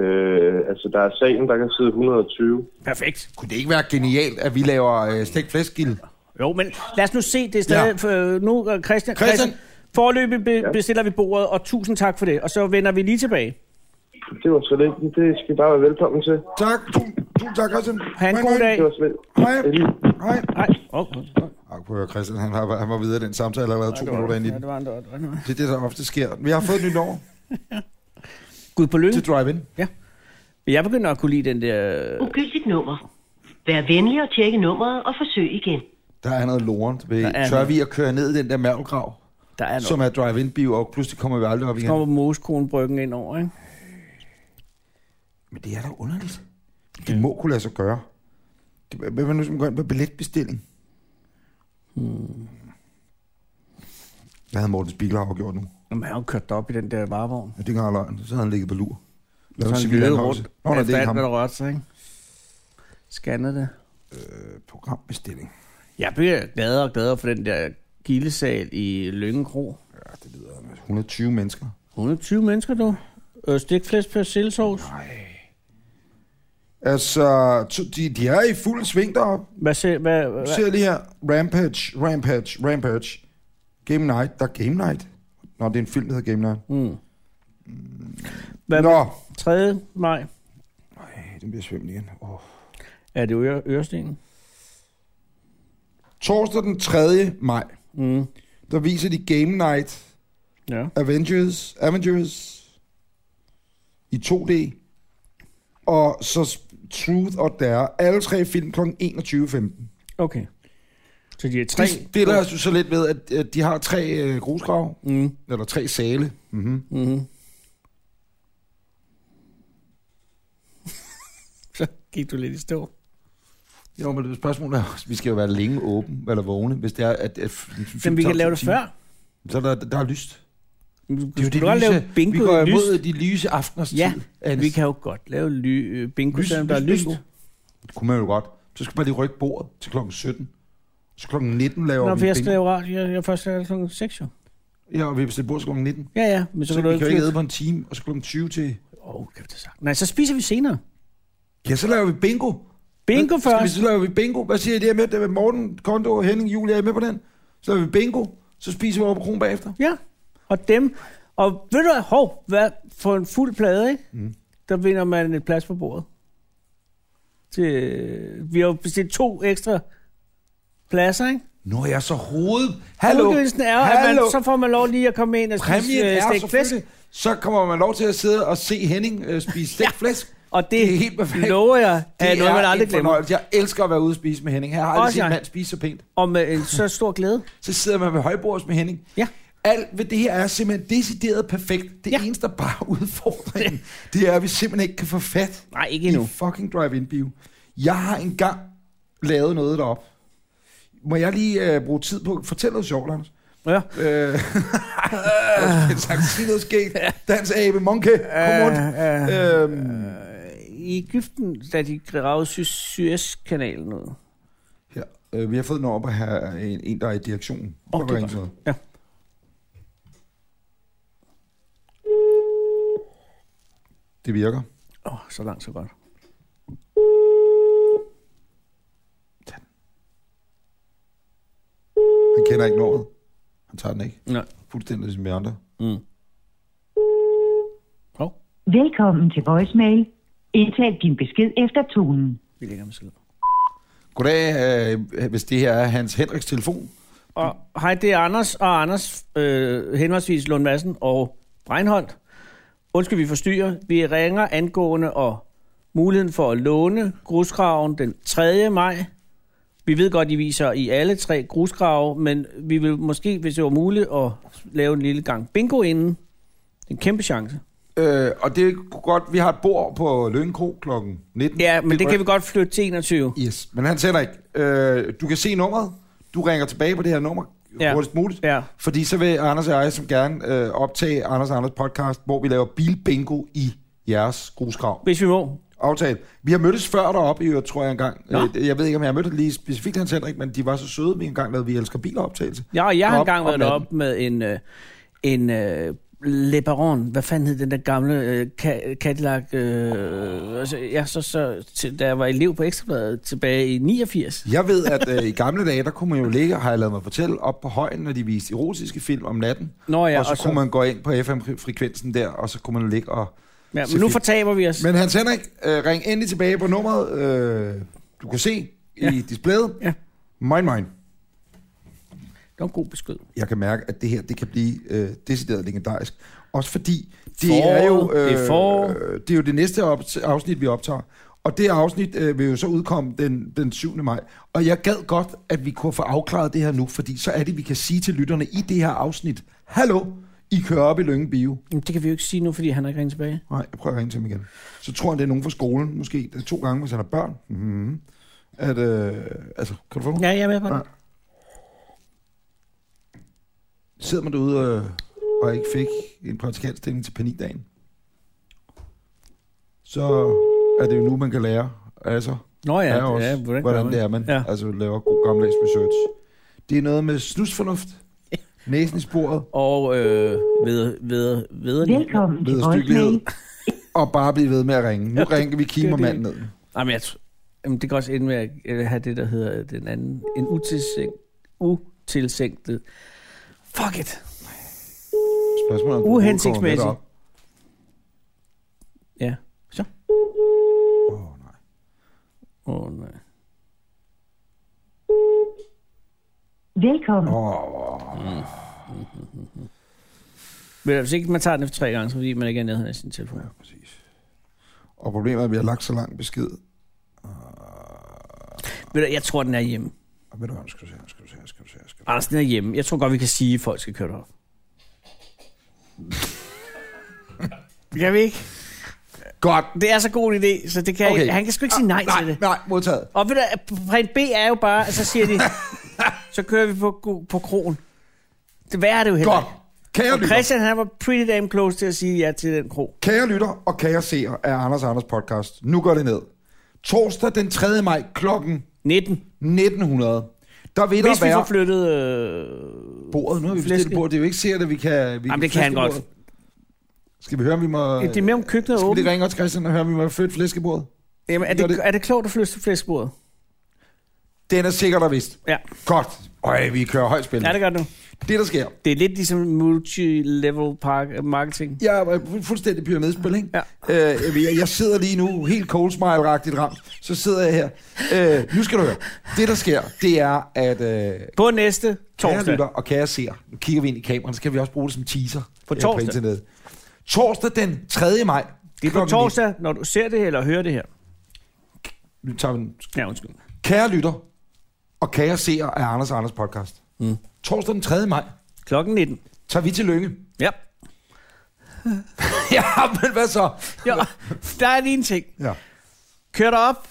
I: Øh, altså, der er salen, der kan sidde 120.
C: Perfekt.
B: Kunne det ikke være genialt, at vi laver øh, stegt flæskgild?
C: Jo, men lad os nu se det stadig. Ja. Nu, øh, Christian,
B: Christian.
C: forløbig be- bestiller vi bordet, og tusind tak for det. Og så vender vi lige tilbage.
I: Det var så lidt. Det skal I bare være velkommen til.
B: Tak. Tusind tusind tak, Christian.
C: Ha' en
B: Hej,
C: god
B: hej.
C: dag.
I: Det var så lidt.
B: Hej.
I: Det er lige-
B: Hej.
C: Hej. Oh, oh, oh.
B: Og prøv at høre, Christian, han, har, han var videre i den samtale allerede to minutter ind i
C: Ja,
B: den.
C: det var en dør. det var en dør.
B: Det er det, der ofte sker. Vi har fået et nyt år
C: Gud på Lønge.
B: til Drive-In.
C: Jeg begynder at kunne lide den der... øh,
H: Ugyldigt nummer. Vær venlig og tjekke nummeret og forsøg igen.
B: Der er noget lorent. Ved,
C: Der er
B: tør
C: noget.
B: vi at køre ned i den der mærvelgrav,
C: Der er
B: som
C: noget.
B: er drive-in-bio, og pludselig kommer vi aldrig op
C: Så
B: igen?
C: kommer Moskronbryggen ind over, ikke?
B: Men det er da underligt. Det må kunne lade sig gøre. Det, hvad hvad nu, som går ind på billetbestilling? Hmm. Hvad havde Morten Spiegelhauer gjort nu?
C: Jamen, han har jo kørt op i den der varevogn.
B: Ja, det kan jeg løgn. Så havde han ligget på lur. Lad
C: Så
B: os
C: han
B: sige, vi
C: glede
B: lader
C: rundt.
B: Nå, nej, det er ikke ham.
C: hvad der rørte sig, ikke? Scanner det.
B: Øh, Programbestilling.
C: Jeg bliver gladere og gladere for den der gildesal i Lønge Kro.
B: Ja, det lyder med Altså, 120 mennesker.
C: 120 mennesker, du. Øh, Stikflæs på sillesovs.
B: Altså, to- de, de er i fuld sving deroppe.
C: Hvad, se, hvad, hvad,
B: Nu ser jeg lige her. Rampage, Rampage, Rampage. Game Night. Der er Game Night. Nå, det er en film, der hedder Game Night.
C: Mm. hvad,
B: Nå.
C: 3. maj
B: Ej, den bliver svømt igen. Oh.
C: er det jo Øre- Ørestenen.
B: Torsdag den 3. maj,
C: Mm.
B: der viser de Game Night
C: Ja.
B: Avengers, Avengers i 2D. Og så sp- Truth og Dare. Alle tre film kl. 21.15.
C: Okay. Så de er tre.
B: Det stiller os jo så lidt ved, at, at de har tre øh, grusgrave.
C: Mm.
B: Eller tre sale. Mm-hmm.
C: Mm-hmm. så gik du lidt i stå.
B: Jo, men det spørgsmål er, vi skal jo være længe åben eller vågne, hvis det er, at... at
C: Men vi kan lave det før.
B: Så der, der er lyst.
C: Du, du,
B: Det er jo
C: du
B: det
C: kan godt
B: lyse.
C: lave bingo
B: vi går
C: i
B: imod
C: lys.
B: de lyse afteners
C: Ja,
B: tid. Anders.
C: Vi kan jo godt lave ly, øh, bingo,
B: Lys-
C: selvom der er
B: lys-
C: lys.
B: bingo. Det kunne man jo godt. Så skal man lige rykke bordet til klokken 17. Så klokken 19 laver
C: Nå,
B: vi
C: for jeg skal
B: bingo.
C: lave radio. Jeg, jeg først laver klokken 6 jo.
B: Ja, og vi bestiller bord til klokken 19.
C: Ja, ja. Men så,
B: Så,
C: kan du
B: vi kan jo ikke
C: ikke...
B: æde på en time, og så klokken 20 til...
C: Åh, oh, kæft det er sagt. Nej, så spiser vi senere.
B: Ja, så laver vi bingo.
C: Bingo
B: Skal vi,
C: først.
B: så laver vi bingo. Hvad siger I det her med? Det er Morten, Kondo, Henning, Julia, er I med på den? Så laver vi bingo. Så spiser vi over på kronen bagefter.
C: Ja, og dem. Og ved du hvad, hov, hvad, for en fuld plade, ikke? Mm. der vinder man et plads på bordet. Til, vi har jo bestilt to ekstra pladser, ikke?
B: Nå, jeg er så hoved... Hallo,
C: Udgivelsen er, at man, så får man lov lige at komme ind og
B: Præmien
C: spise øh,
B: er
C: stegt flæsk.
B: selvfølgelig... Så kommer man lov til at sidde og se Henning øh, spise stegt flæsk.
C: Og det,
B: Det er helt perfekt.
C: lover jeg, det er noget, man aldrig
B: en
C: glemmer.
B: fornøjelse. Jeg elsker at være ude at spise med Henning. Jeg har aldrig
C: Også
B: set
C: jeg.
B: en mand spise så pænt.
C: Og med en så stor glæde.
B: Så sidder man ved højbords med Henning.
C: Ja.
B: Alt ved det her er simpelthen decideret perfekt. Det
C: Ja.
B: ja. eneste, der bare er udfordringen, det er, at vi simpelthen ikke kan få fat
C: Nej, ikke
B: i
C: endnu.
B: fucking drive-in-bio. Jeg har engang lavet noget derop. Må jeg lige øh, bruge tid på at fortælle noget sjovt, Anders?
C: Ja.
B: Øh, en slags sig noget skægt. Dans abe, monkey, kom rundt. Øhm,
C: I Ægypten, da de gravede Sy- Suezkanalen ud.
B: her. Øh, vi har fået den op at have en, en der er i direktionen.
C: Åh,
B: Prøv at
C: det er
B: ringe til
C: godt.
B: noget.
C: Ja.
B: Det virker.
C: Åh, så langt, så godt.
B: kender ikke nummeret. Han tager den ikke.
C: Nej.
B: Fuldstændig som vi andre.
C: Hov,
J: Velkommen til voicemail. Indtal din besked efter tonen.
C: vi lægger ham selv.
B: Goddag, øh, hvis det her er Hans Henriks telefon.
C: Og hej, det er Anders og Anders, øh, henholdsvis Lund Madsen og Breinholt. Undskyld, vi forstyrrer. Vi ringer angående og muligheden for at låne grusgraven den 3. maj. Vi ved godt, I viser i alle tre grusgrave, men vi vil måske, hvis det var muligt, at lave en lille gang bingo inden. Det er en kæmpe chance.
B: Øh, og det kunne godt, vi har et bord på Lønkro kl. 19.
C: Ja, men det
B: kunne
C: kan vi godt flytte til 21.
B: jeg- Yes, men han sender ikke. Øh, du kan se nummeret. Du ringer tilbage på det her nummer
C: Ja.
B: ja. hurtigst muligt.
C: Ja.
B: Fordi så vil Anders og jeg som gerne øh, optage Anders og Anders podcast, hvor vi laver bilbingo i jeres grusgrav.
C: Hvis vi må.
B: Aftale. Vi har mødtes før deroppe i øvrigt, tror jeg engang. Øh, jeg ved ikke, om jeg har mødt lige specifikt Hans Henrik, men de var så søde, vi engang lavede Vi Elsker Biler optagelse.
C: Ja, og jeg har
B: Op-
C: engang
B: op
C: været
B: med
C: deroppe med en, øh, en øh, Le Baron. Hvad fanden hed den der gamle øh, Ca- Cadillac? Øh, altså, jeg så, så, til, da jeg var elev på Ekstrabladet tilbage i 89.
B: Jeg ved, at øh, i gamle dage, der kunne man jo ligge, har jeg lavet mig fortælle, op på højen, når de viste erotiske film om natten.
C: Nå ja,
B: og, så og så kunne man gå ind på FM-frekvensen der, og så kunne man ligge og...
C: ja, men
B: så
C: nu
B: fik-
C: fortaber vi os. Men,
B: Men Hans Henrik, øh, ring endelig tilbage på nummeret, øh, du kan se ja. i displayet.
C: Ja.
B: Mine, mine.
C: det var en god besked.
B: Jeg kan mærke, at det her, det kan blive øh, decideret legendarisk. Også fordi, det
C: Foråret,
B: er jo...
C: det er forår.
B: øh, det er jo det næste op- afsnit, vi optager. Og det afsnit øh, vil jo så udkomme den, den 7. maj. Og jeg gad godt, at vi kunne få afklaret det her nu, fordi så er det, vi kan sige til lytterne i det her afsnit, Hallo, I kører op i Lønge Bio.
C: Jamen, det kan vi jo ikke sige nu, fordi han har ikke ringet tilbage.
B: Nej, jeg prøver at ringe til ham igen. Så tror han, det er nogen fra skolen, måske. Det er to gange, hvis han har børn. Mm-hmm. At, øh, altså, kan du få mig?
C: Ja, jeg er med på det.
B: Ja. Sidder man derude øh, og ikke fik en praktikantstilling til panikdagen, så er det jo nu, man kan lære. Altså,
C: Nå ja,
B: er også,
C: ja
B: hvordan,
C: gør
B: hvordan det er, man ja.
C: Ja.
B: altså, laver god gammeldags research. Det er noget med snusfornuft, næsen i sporet,
C: Og øh, ved, ved, ved,
J: Velkommen til
B: vederstyggelighed,
J: voicemail.
B: og bare blive ved med at ringe. Nu
C: Ja, det-
B: ringer vi
C: det er
B: kimer
C: det.
B: manden ned.
C: Jamen, jeg tr- Jamen, det kan også ende med at øh, have det, der hedder den anden. En utilsigt, utilsigtet. Fuck it.
B: Spørgsmålet er, om du
C: Uhensigtsmæssigt.
B: overhovedet kommer
C: Ja. Så.
B: med derop. Åh, nej.
C: Åh, oh, nej.
J: Velkommen.
C: Men hvis ikke man tager den efter tre gange, så er det fordi man ikke er nede af sin telefon.
B: Ja, præcis. Og problemet er, at vi har lagt så lang besked. Ah,
C: Ved du, jeg tror, den er hjemme.
B: Og ved du hvad, nu skal du se, nu skal du se, nu skal du se, nu skal du se.
C: Anders, den er hjemme. Jeg tror godt, vi kan sige, at folk skal køre derop. kan vi ikke?
B: Godt.
C: Det er så god en idé, så det kan okay.
B: Okay. Ah,
C: han kan sgu ikke sige nej,
B: nej
C: til det.
B: Nej, modtaget.
C: Og ved du, plan B er jo bare, så siger de, så kører vi på, på krogen. Det værre er det jo heller
B: Godt.
C: ikke.
B: Kære
C: Og
B: lytter,
C: Christian, han var pretty damn close til at sige ja til den kro.
B: kære lytter og kære seer af Anders og Anders podcast. Nu går det ned. Torsdag den 3. maj klokken
C: 19.
B: 1900. Der vil
C: Hvis
B: der
C: vi får
B: være
C: flyttet... Øh...
B: bordet. Nu har vi
C: flæske.
B: bestilt bordet. Det er jo ikke sikkert, at vi kan... Vi
C: Jamen, det kan han godt.
B: flæskebordet. Skal vi høre, om vi må...
C: Det er mere om køkkenet er
B: Skal vi
C: åbent.
B: lige ringe også, Christian, og høre, om vi må flytte flæskebordet?
C: Jamen, er,
B: Gør
C: det,
B: det-
C: er det klogt at flytte til flæskbordet?
B: Den er sikkert og vist.
C: Ja.
B: Godt. Øj, vi kører højt spil.
C: ja, det gør det nu.
B: det, der sker,
C: Det er lidt ligesom multi-level park- øh, marketing.
B: Jeg er fu- fuldstændig pyramidespil, ikke?
C: Ja.
B: Øh, jeg, jeg sidder lige nu helt cold smile-agtigt ramt. Så sidder jeg her. Øh, nu skal du høre. Det, der sker, det er, at øh,
C: På næste
B: kære
C: torsdag.
B: lytter og kære ser, nu kigger vi ind i kameraet, så kan vi også bruge det som teaser øh,
C: torsdag.
B: På internet. Torsdag den 3. maj.
C: Det er på
B: klokken
C: torsdag, når du ser det eller hører det her.
B: 19. Nu tager vi den.
C: Ja, undskyld.
B: Kære lytter og kære ser af Anders og Anders podcast. Mm. Torsdag den 3. maj
C: Klokken 19.
B: tager vi til Lønge.
C: Ja.
B: ja, men hvad så?
C: Jo, der er lige en ting.
B: Ja.
C: Kør dig op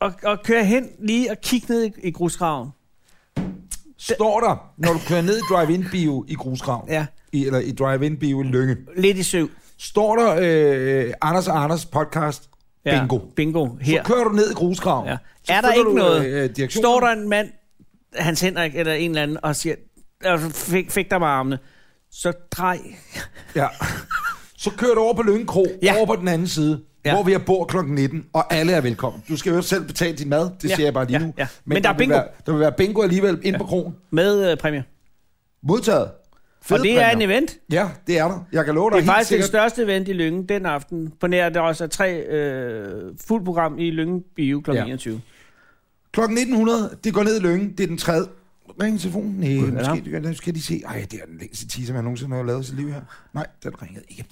C: og, og kør hen lige og kig ned i, i grusgraven.
B: Står der, når du kører ned i drive-in-bio i Grusgraven,
C: Ja.
B: i, eller i drive-in-bio i Lønge,
C: Lidt i søv.
B: står der øh, Anders og Anders podcast
C: Ja,
B: bingo.
C: Bingo. Her.
B: Så kører du ned i grusgraven.
C: Ja.
B: Så
C: Er der
B: følger
C: ikke
B: du,
C: noget?
B: Øh, direktionen.
C: Står der en mand, Hans Henrik eller en eller anden, og siger, "Øh, fik, fik dig med armene, så drej.
B: Ja. Så kører du over på Lønge Kro,
C: Ja.
B: ja. over på den anden side. ja. hvor vi er bord kl. 19, og alle er velkommen. Du skal jo selv betale din mad, det
C: Ja,
B: ja. siger jeg bare lige
C: ja,
B: nu.
C: ja. Men der er
B: vil
C: bingo.
B: Være, der vil være bingo alligevel ind ja. på krogen.
C: Med øh, præmie.
B: Modtaget. Fede
C: og det er
B: præmier.
C: en event.
B: Ja, det er der. Jeg kan love dig
C: Det er
B: helt
C: faktisk det
B: sikkert.
C: største event i Lyngen den aften. På nær, at der også er tre øh, fuldt program i Lyngen Bio kl.
B: Ja.
C: 21.
B: Klokken 1900, det går ned i Lønge. Det er den tredje. Ring telefonen? Nej,
C: er
B: måske, det gør det. Nu skal de se. Ej, det er den længste teaser, man nogensinde har lavet i sit liv her. Nej, den ringede ikke.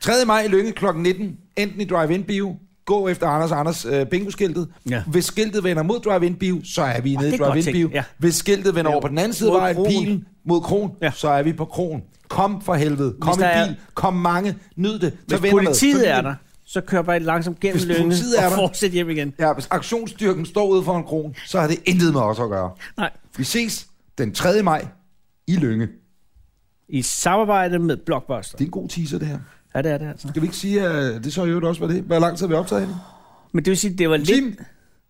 B: 3. maj i Lønge kl. 19. Enten i drive-in bio, gå efter Anders og Anders øh, bingo-skiltet.
C: Ja.
B: Hvis skiltet vender mod drive-in bio, så er vi nede
C: det
B: i
C: er godt
B: drive-in bio.
C: tænkt, ja.
B: Hvis skiltet vender
C: Jo,
B: over på den anden side af
C: mod
B: vejen,
C: kroen.
B: pilen mod kroen,
C: Ja.
B: så er vi på kroen. Kom for helvede. Kom
C: der
B: i
C: er-
B: bil. Kom mange. Nyd det. Så
C: Hvis
B: vender med.
C: politiet
B: Familien-
C: er der, så kører bare langsomt gennem
B: Hvis
C: Lyngen
B: politiet er
C: og
B: der-
C: fortsætter hjem igen.
B: Ja, hvis aktionsstyrken står ude for en kron, så har det intet med os at gøre.
C: Nej.
B: Vi ses den 3. maj i Lønge.
C: I samarbejde med Blockbuster.
B: Det er en god teaser, det her.
C: Ja, det er det altså.
B: Skal vi ikke sige, at det så i øvrigt også var det? Hvor lang tid har vi optaget hende?
C: Men det vil sige, det var lidt,
B: Tim?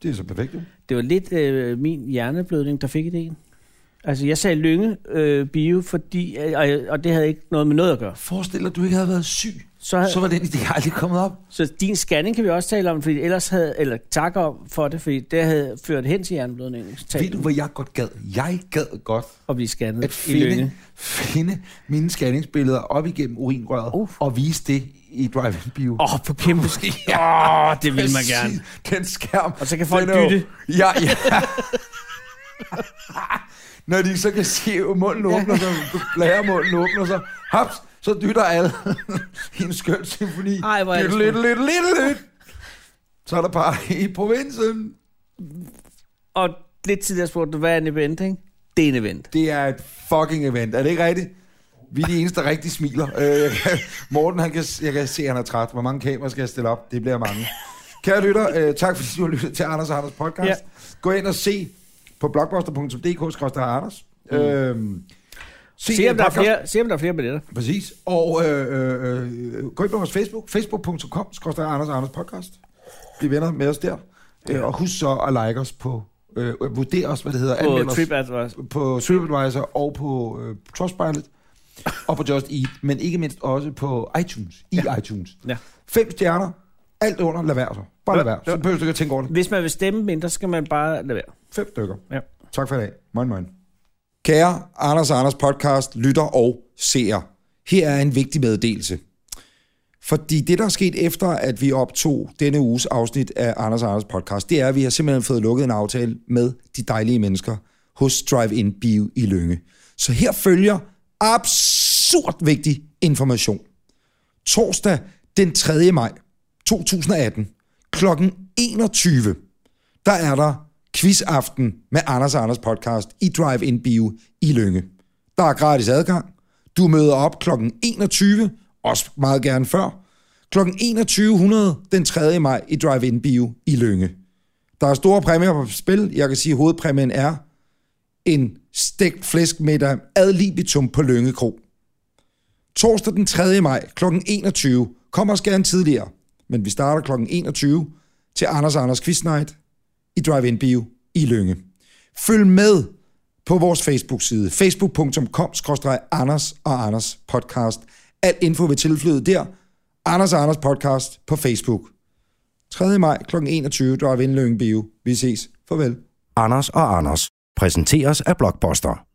B: Det er så perfekt, jo.
C: det var lidt øh, min hjerneblødning, der fik idéen. Altså, jeg sagde Lynge øh, Bio, fordi, øh, og, og det havde ikke noget med noget at gøre.
B: Forestil dig, at du ikke havde været syg.
C: Så, havde,
B: Så var den idé aldrig kommet op.
C: Så din scanning kan vi også tale om, fordi ellers havde, eller tak om for det, fordi det havde ført hen til hjerneblødningen.
B: Ved du, hvor jeg godt gad? Jeg gad godt
C: Og blive scannet
B: at
C: i
B: finde,
C: Lyngen.
B: finde mine scanningsbilleder op igennem urinrøret uh. og vise det i drive-in-bio.
C: Åh, oh, på kæmpe ski. Åh, oh, det vil man gerne.
B: Præcis. Den skærm.
C: Og så kan folk
B: den er jo-
C: dytte.
B: Ja, ja. Når de så kan se, at munden åbner sig, blæremunden åbner sig, haps, så dytter alle i en skøn symfoni.
C: Ej, hvor er det
B: lidt, lidt, lidt, lidt, lidt. Så er der bare i provinsen.
C: Og lidt tidligere spurgte du, hvad er en event, ikke? Det er en event.
B: Det er et fucking event. Er det ikke rigtigt? Vi er de eneste, der rigtig smiler. Øh, Morten, han kan, jeg kan se, at han er træt. Hvor mange kameraer skal jeg stille op? Det bliver mange. Kære lytter, øh, tak fordi du har lyttet til Anders og Anders podcast.
C: Ja.
B: Ja. Gå ind og se på blogbuster.dk-anders. Mm. Øhm,
C: Se om,
B: den
C: der er
B: podcast.
C: flere, se, om der er flere billetter.
B: Præcis. Og øh, øh, øh, gå ind på vores Facebook. Facebook.com skorstræk Anders og Anders podcast. Bliv venner med os der. Øh, og husk så at like os på... Øh, vurder os, hvad det hedder.
C: På
B: Anmeld os
C: TripAdvisor.
B: på TripAdvisor og på øh, Trustpilot og på Just Eat, men ikke mindst også på iTunes, i ja. iTunes.
C: Ja.
B: Fem stjerner, alt under, lad være så. Bare lad være, så behøver du ikke at tænke over det.
C: Hvis man vil stemme mindre, så skal man bare lade være.
B: Fem stykker.
C: Ja.
B: Tak for i dag. Moin, moin. Kære Anders og Anders podcast, lytter og seer. Her er en vigtig meddelelse. Fordi det, der er sket efter, at vi optog denne uges afsnit af Anders og Anders podcast, det er, at vi har simpelthen fået lukket en aftale med de dejlige mennesker hos Drive-In Bio i Lønge. Så her følger absurd vigtig information. Torsdag den 3. maj 2018 kl. 21 der er der quizaften med Anders og Anders podcast i Drive-In Bio i Lønge. Der er gratis adgang. Du møder op kl. 21, også meget gerne før. Kl. 21.00 den 3. maj i Drive-In Bio i Lønge. Der er store præmier på spil. Jeg kan sige, at hovedpræmien er en stegt flæskmiddag ad libitum på Lønge Kro. Torsdag den 3. maj kl. 21. Kom også gerne tidligere, men vi starter kl. 21 til Anders og Anders Quiz Night i Drive-In Bio i Lønge. Følg med på vores Facebook-side, facebook.com Anders og Anders podcast. Alt info vil tilflyde der. Anders og Anders podcast på Facebook. 3. maj kl. 21, Drive-In Lønge Bio. Vi ses. Farvel.
A: Anders og Anders præsenteres af Blockbuster.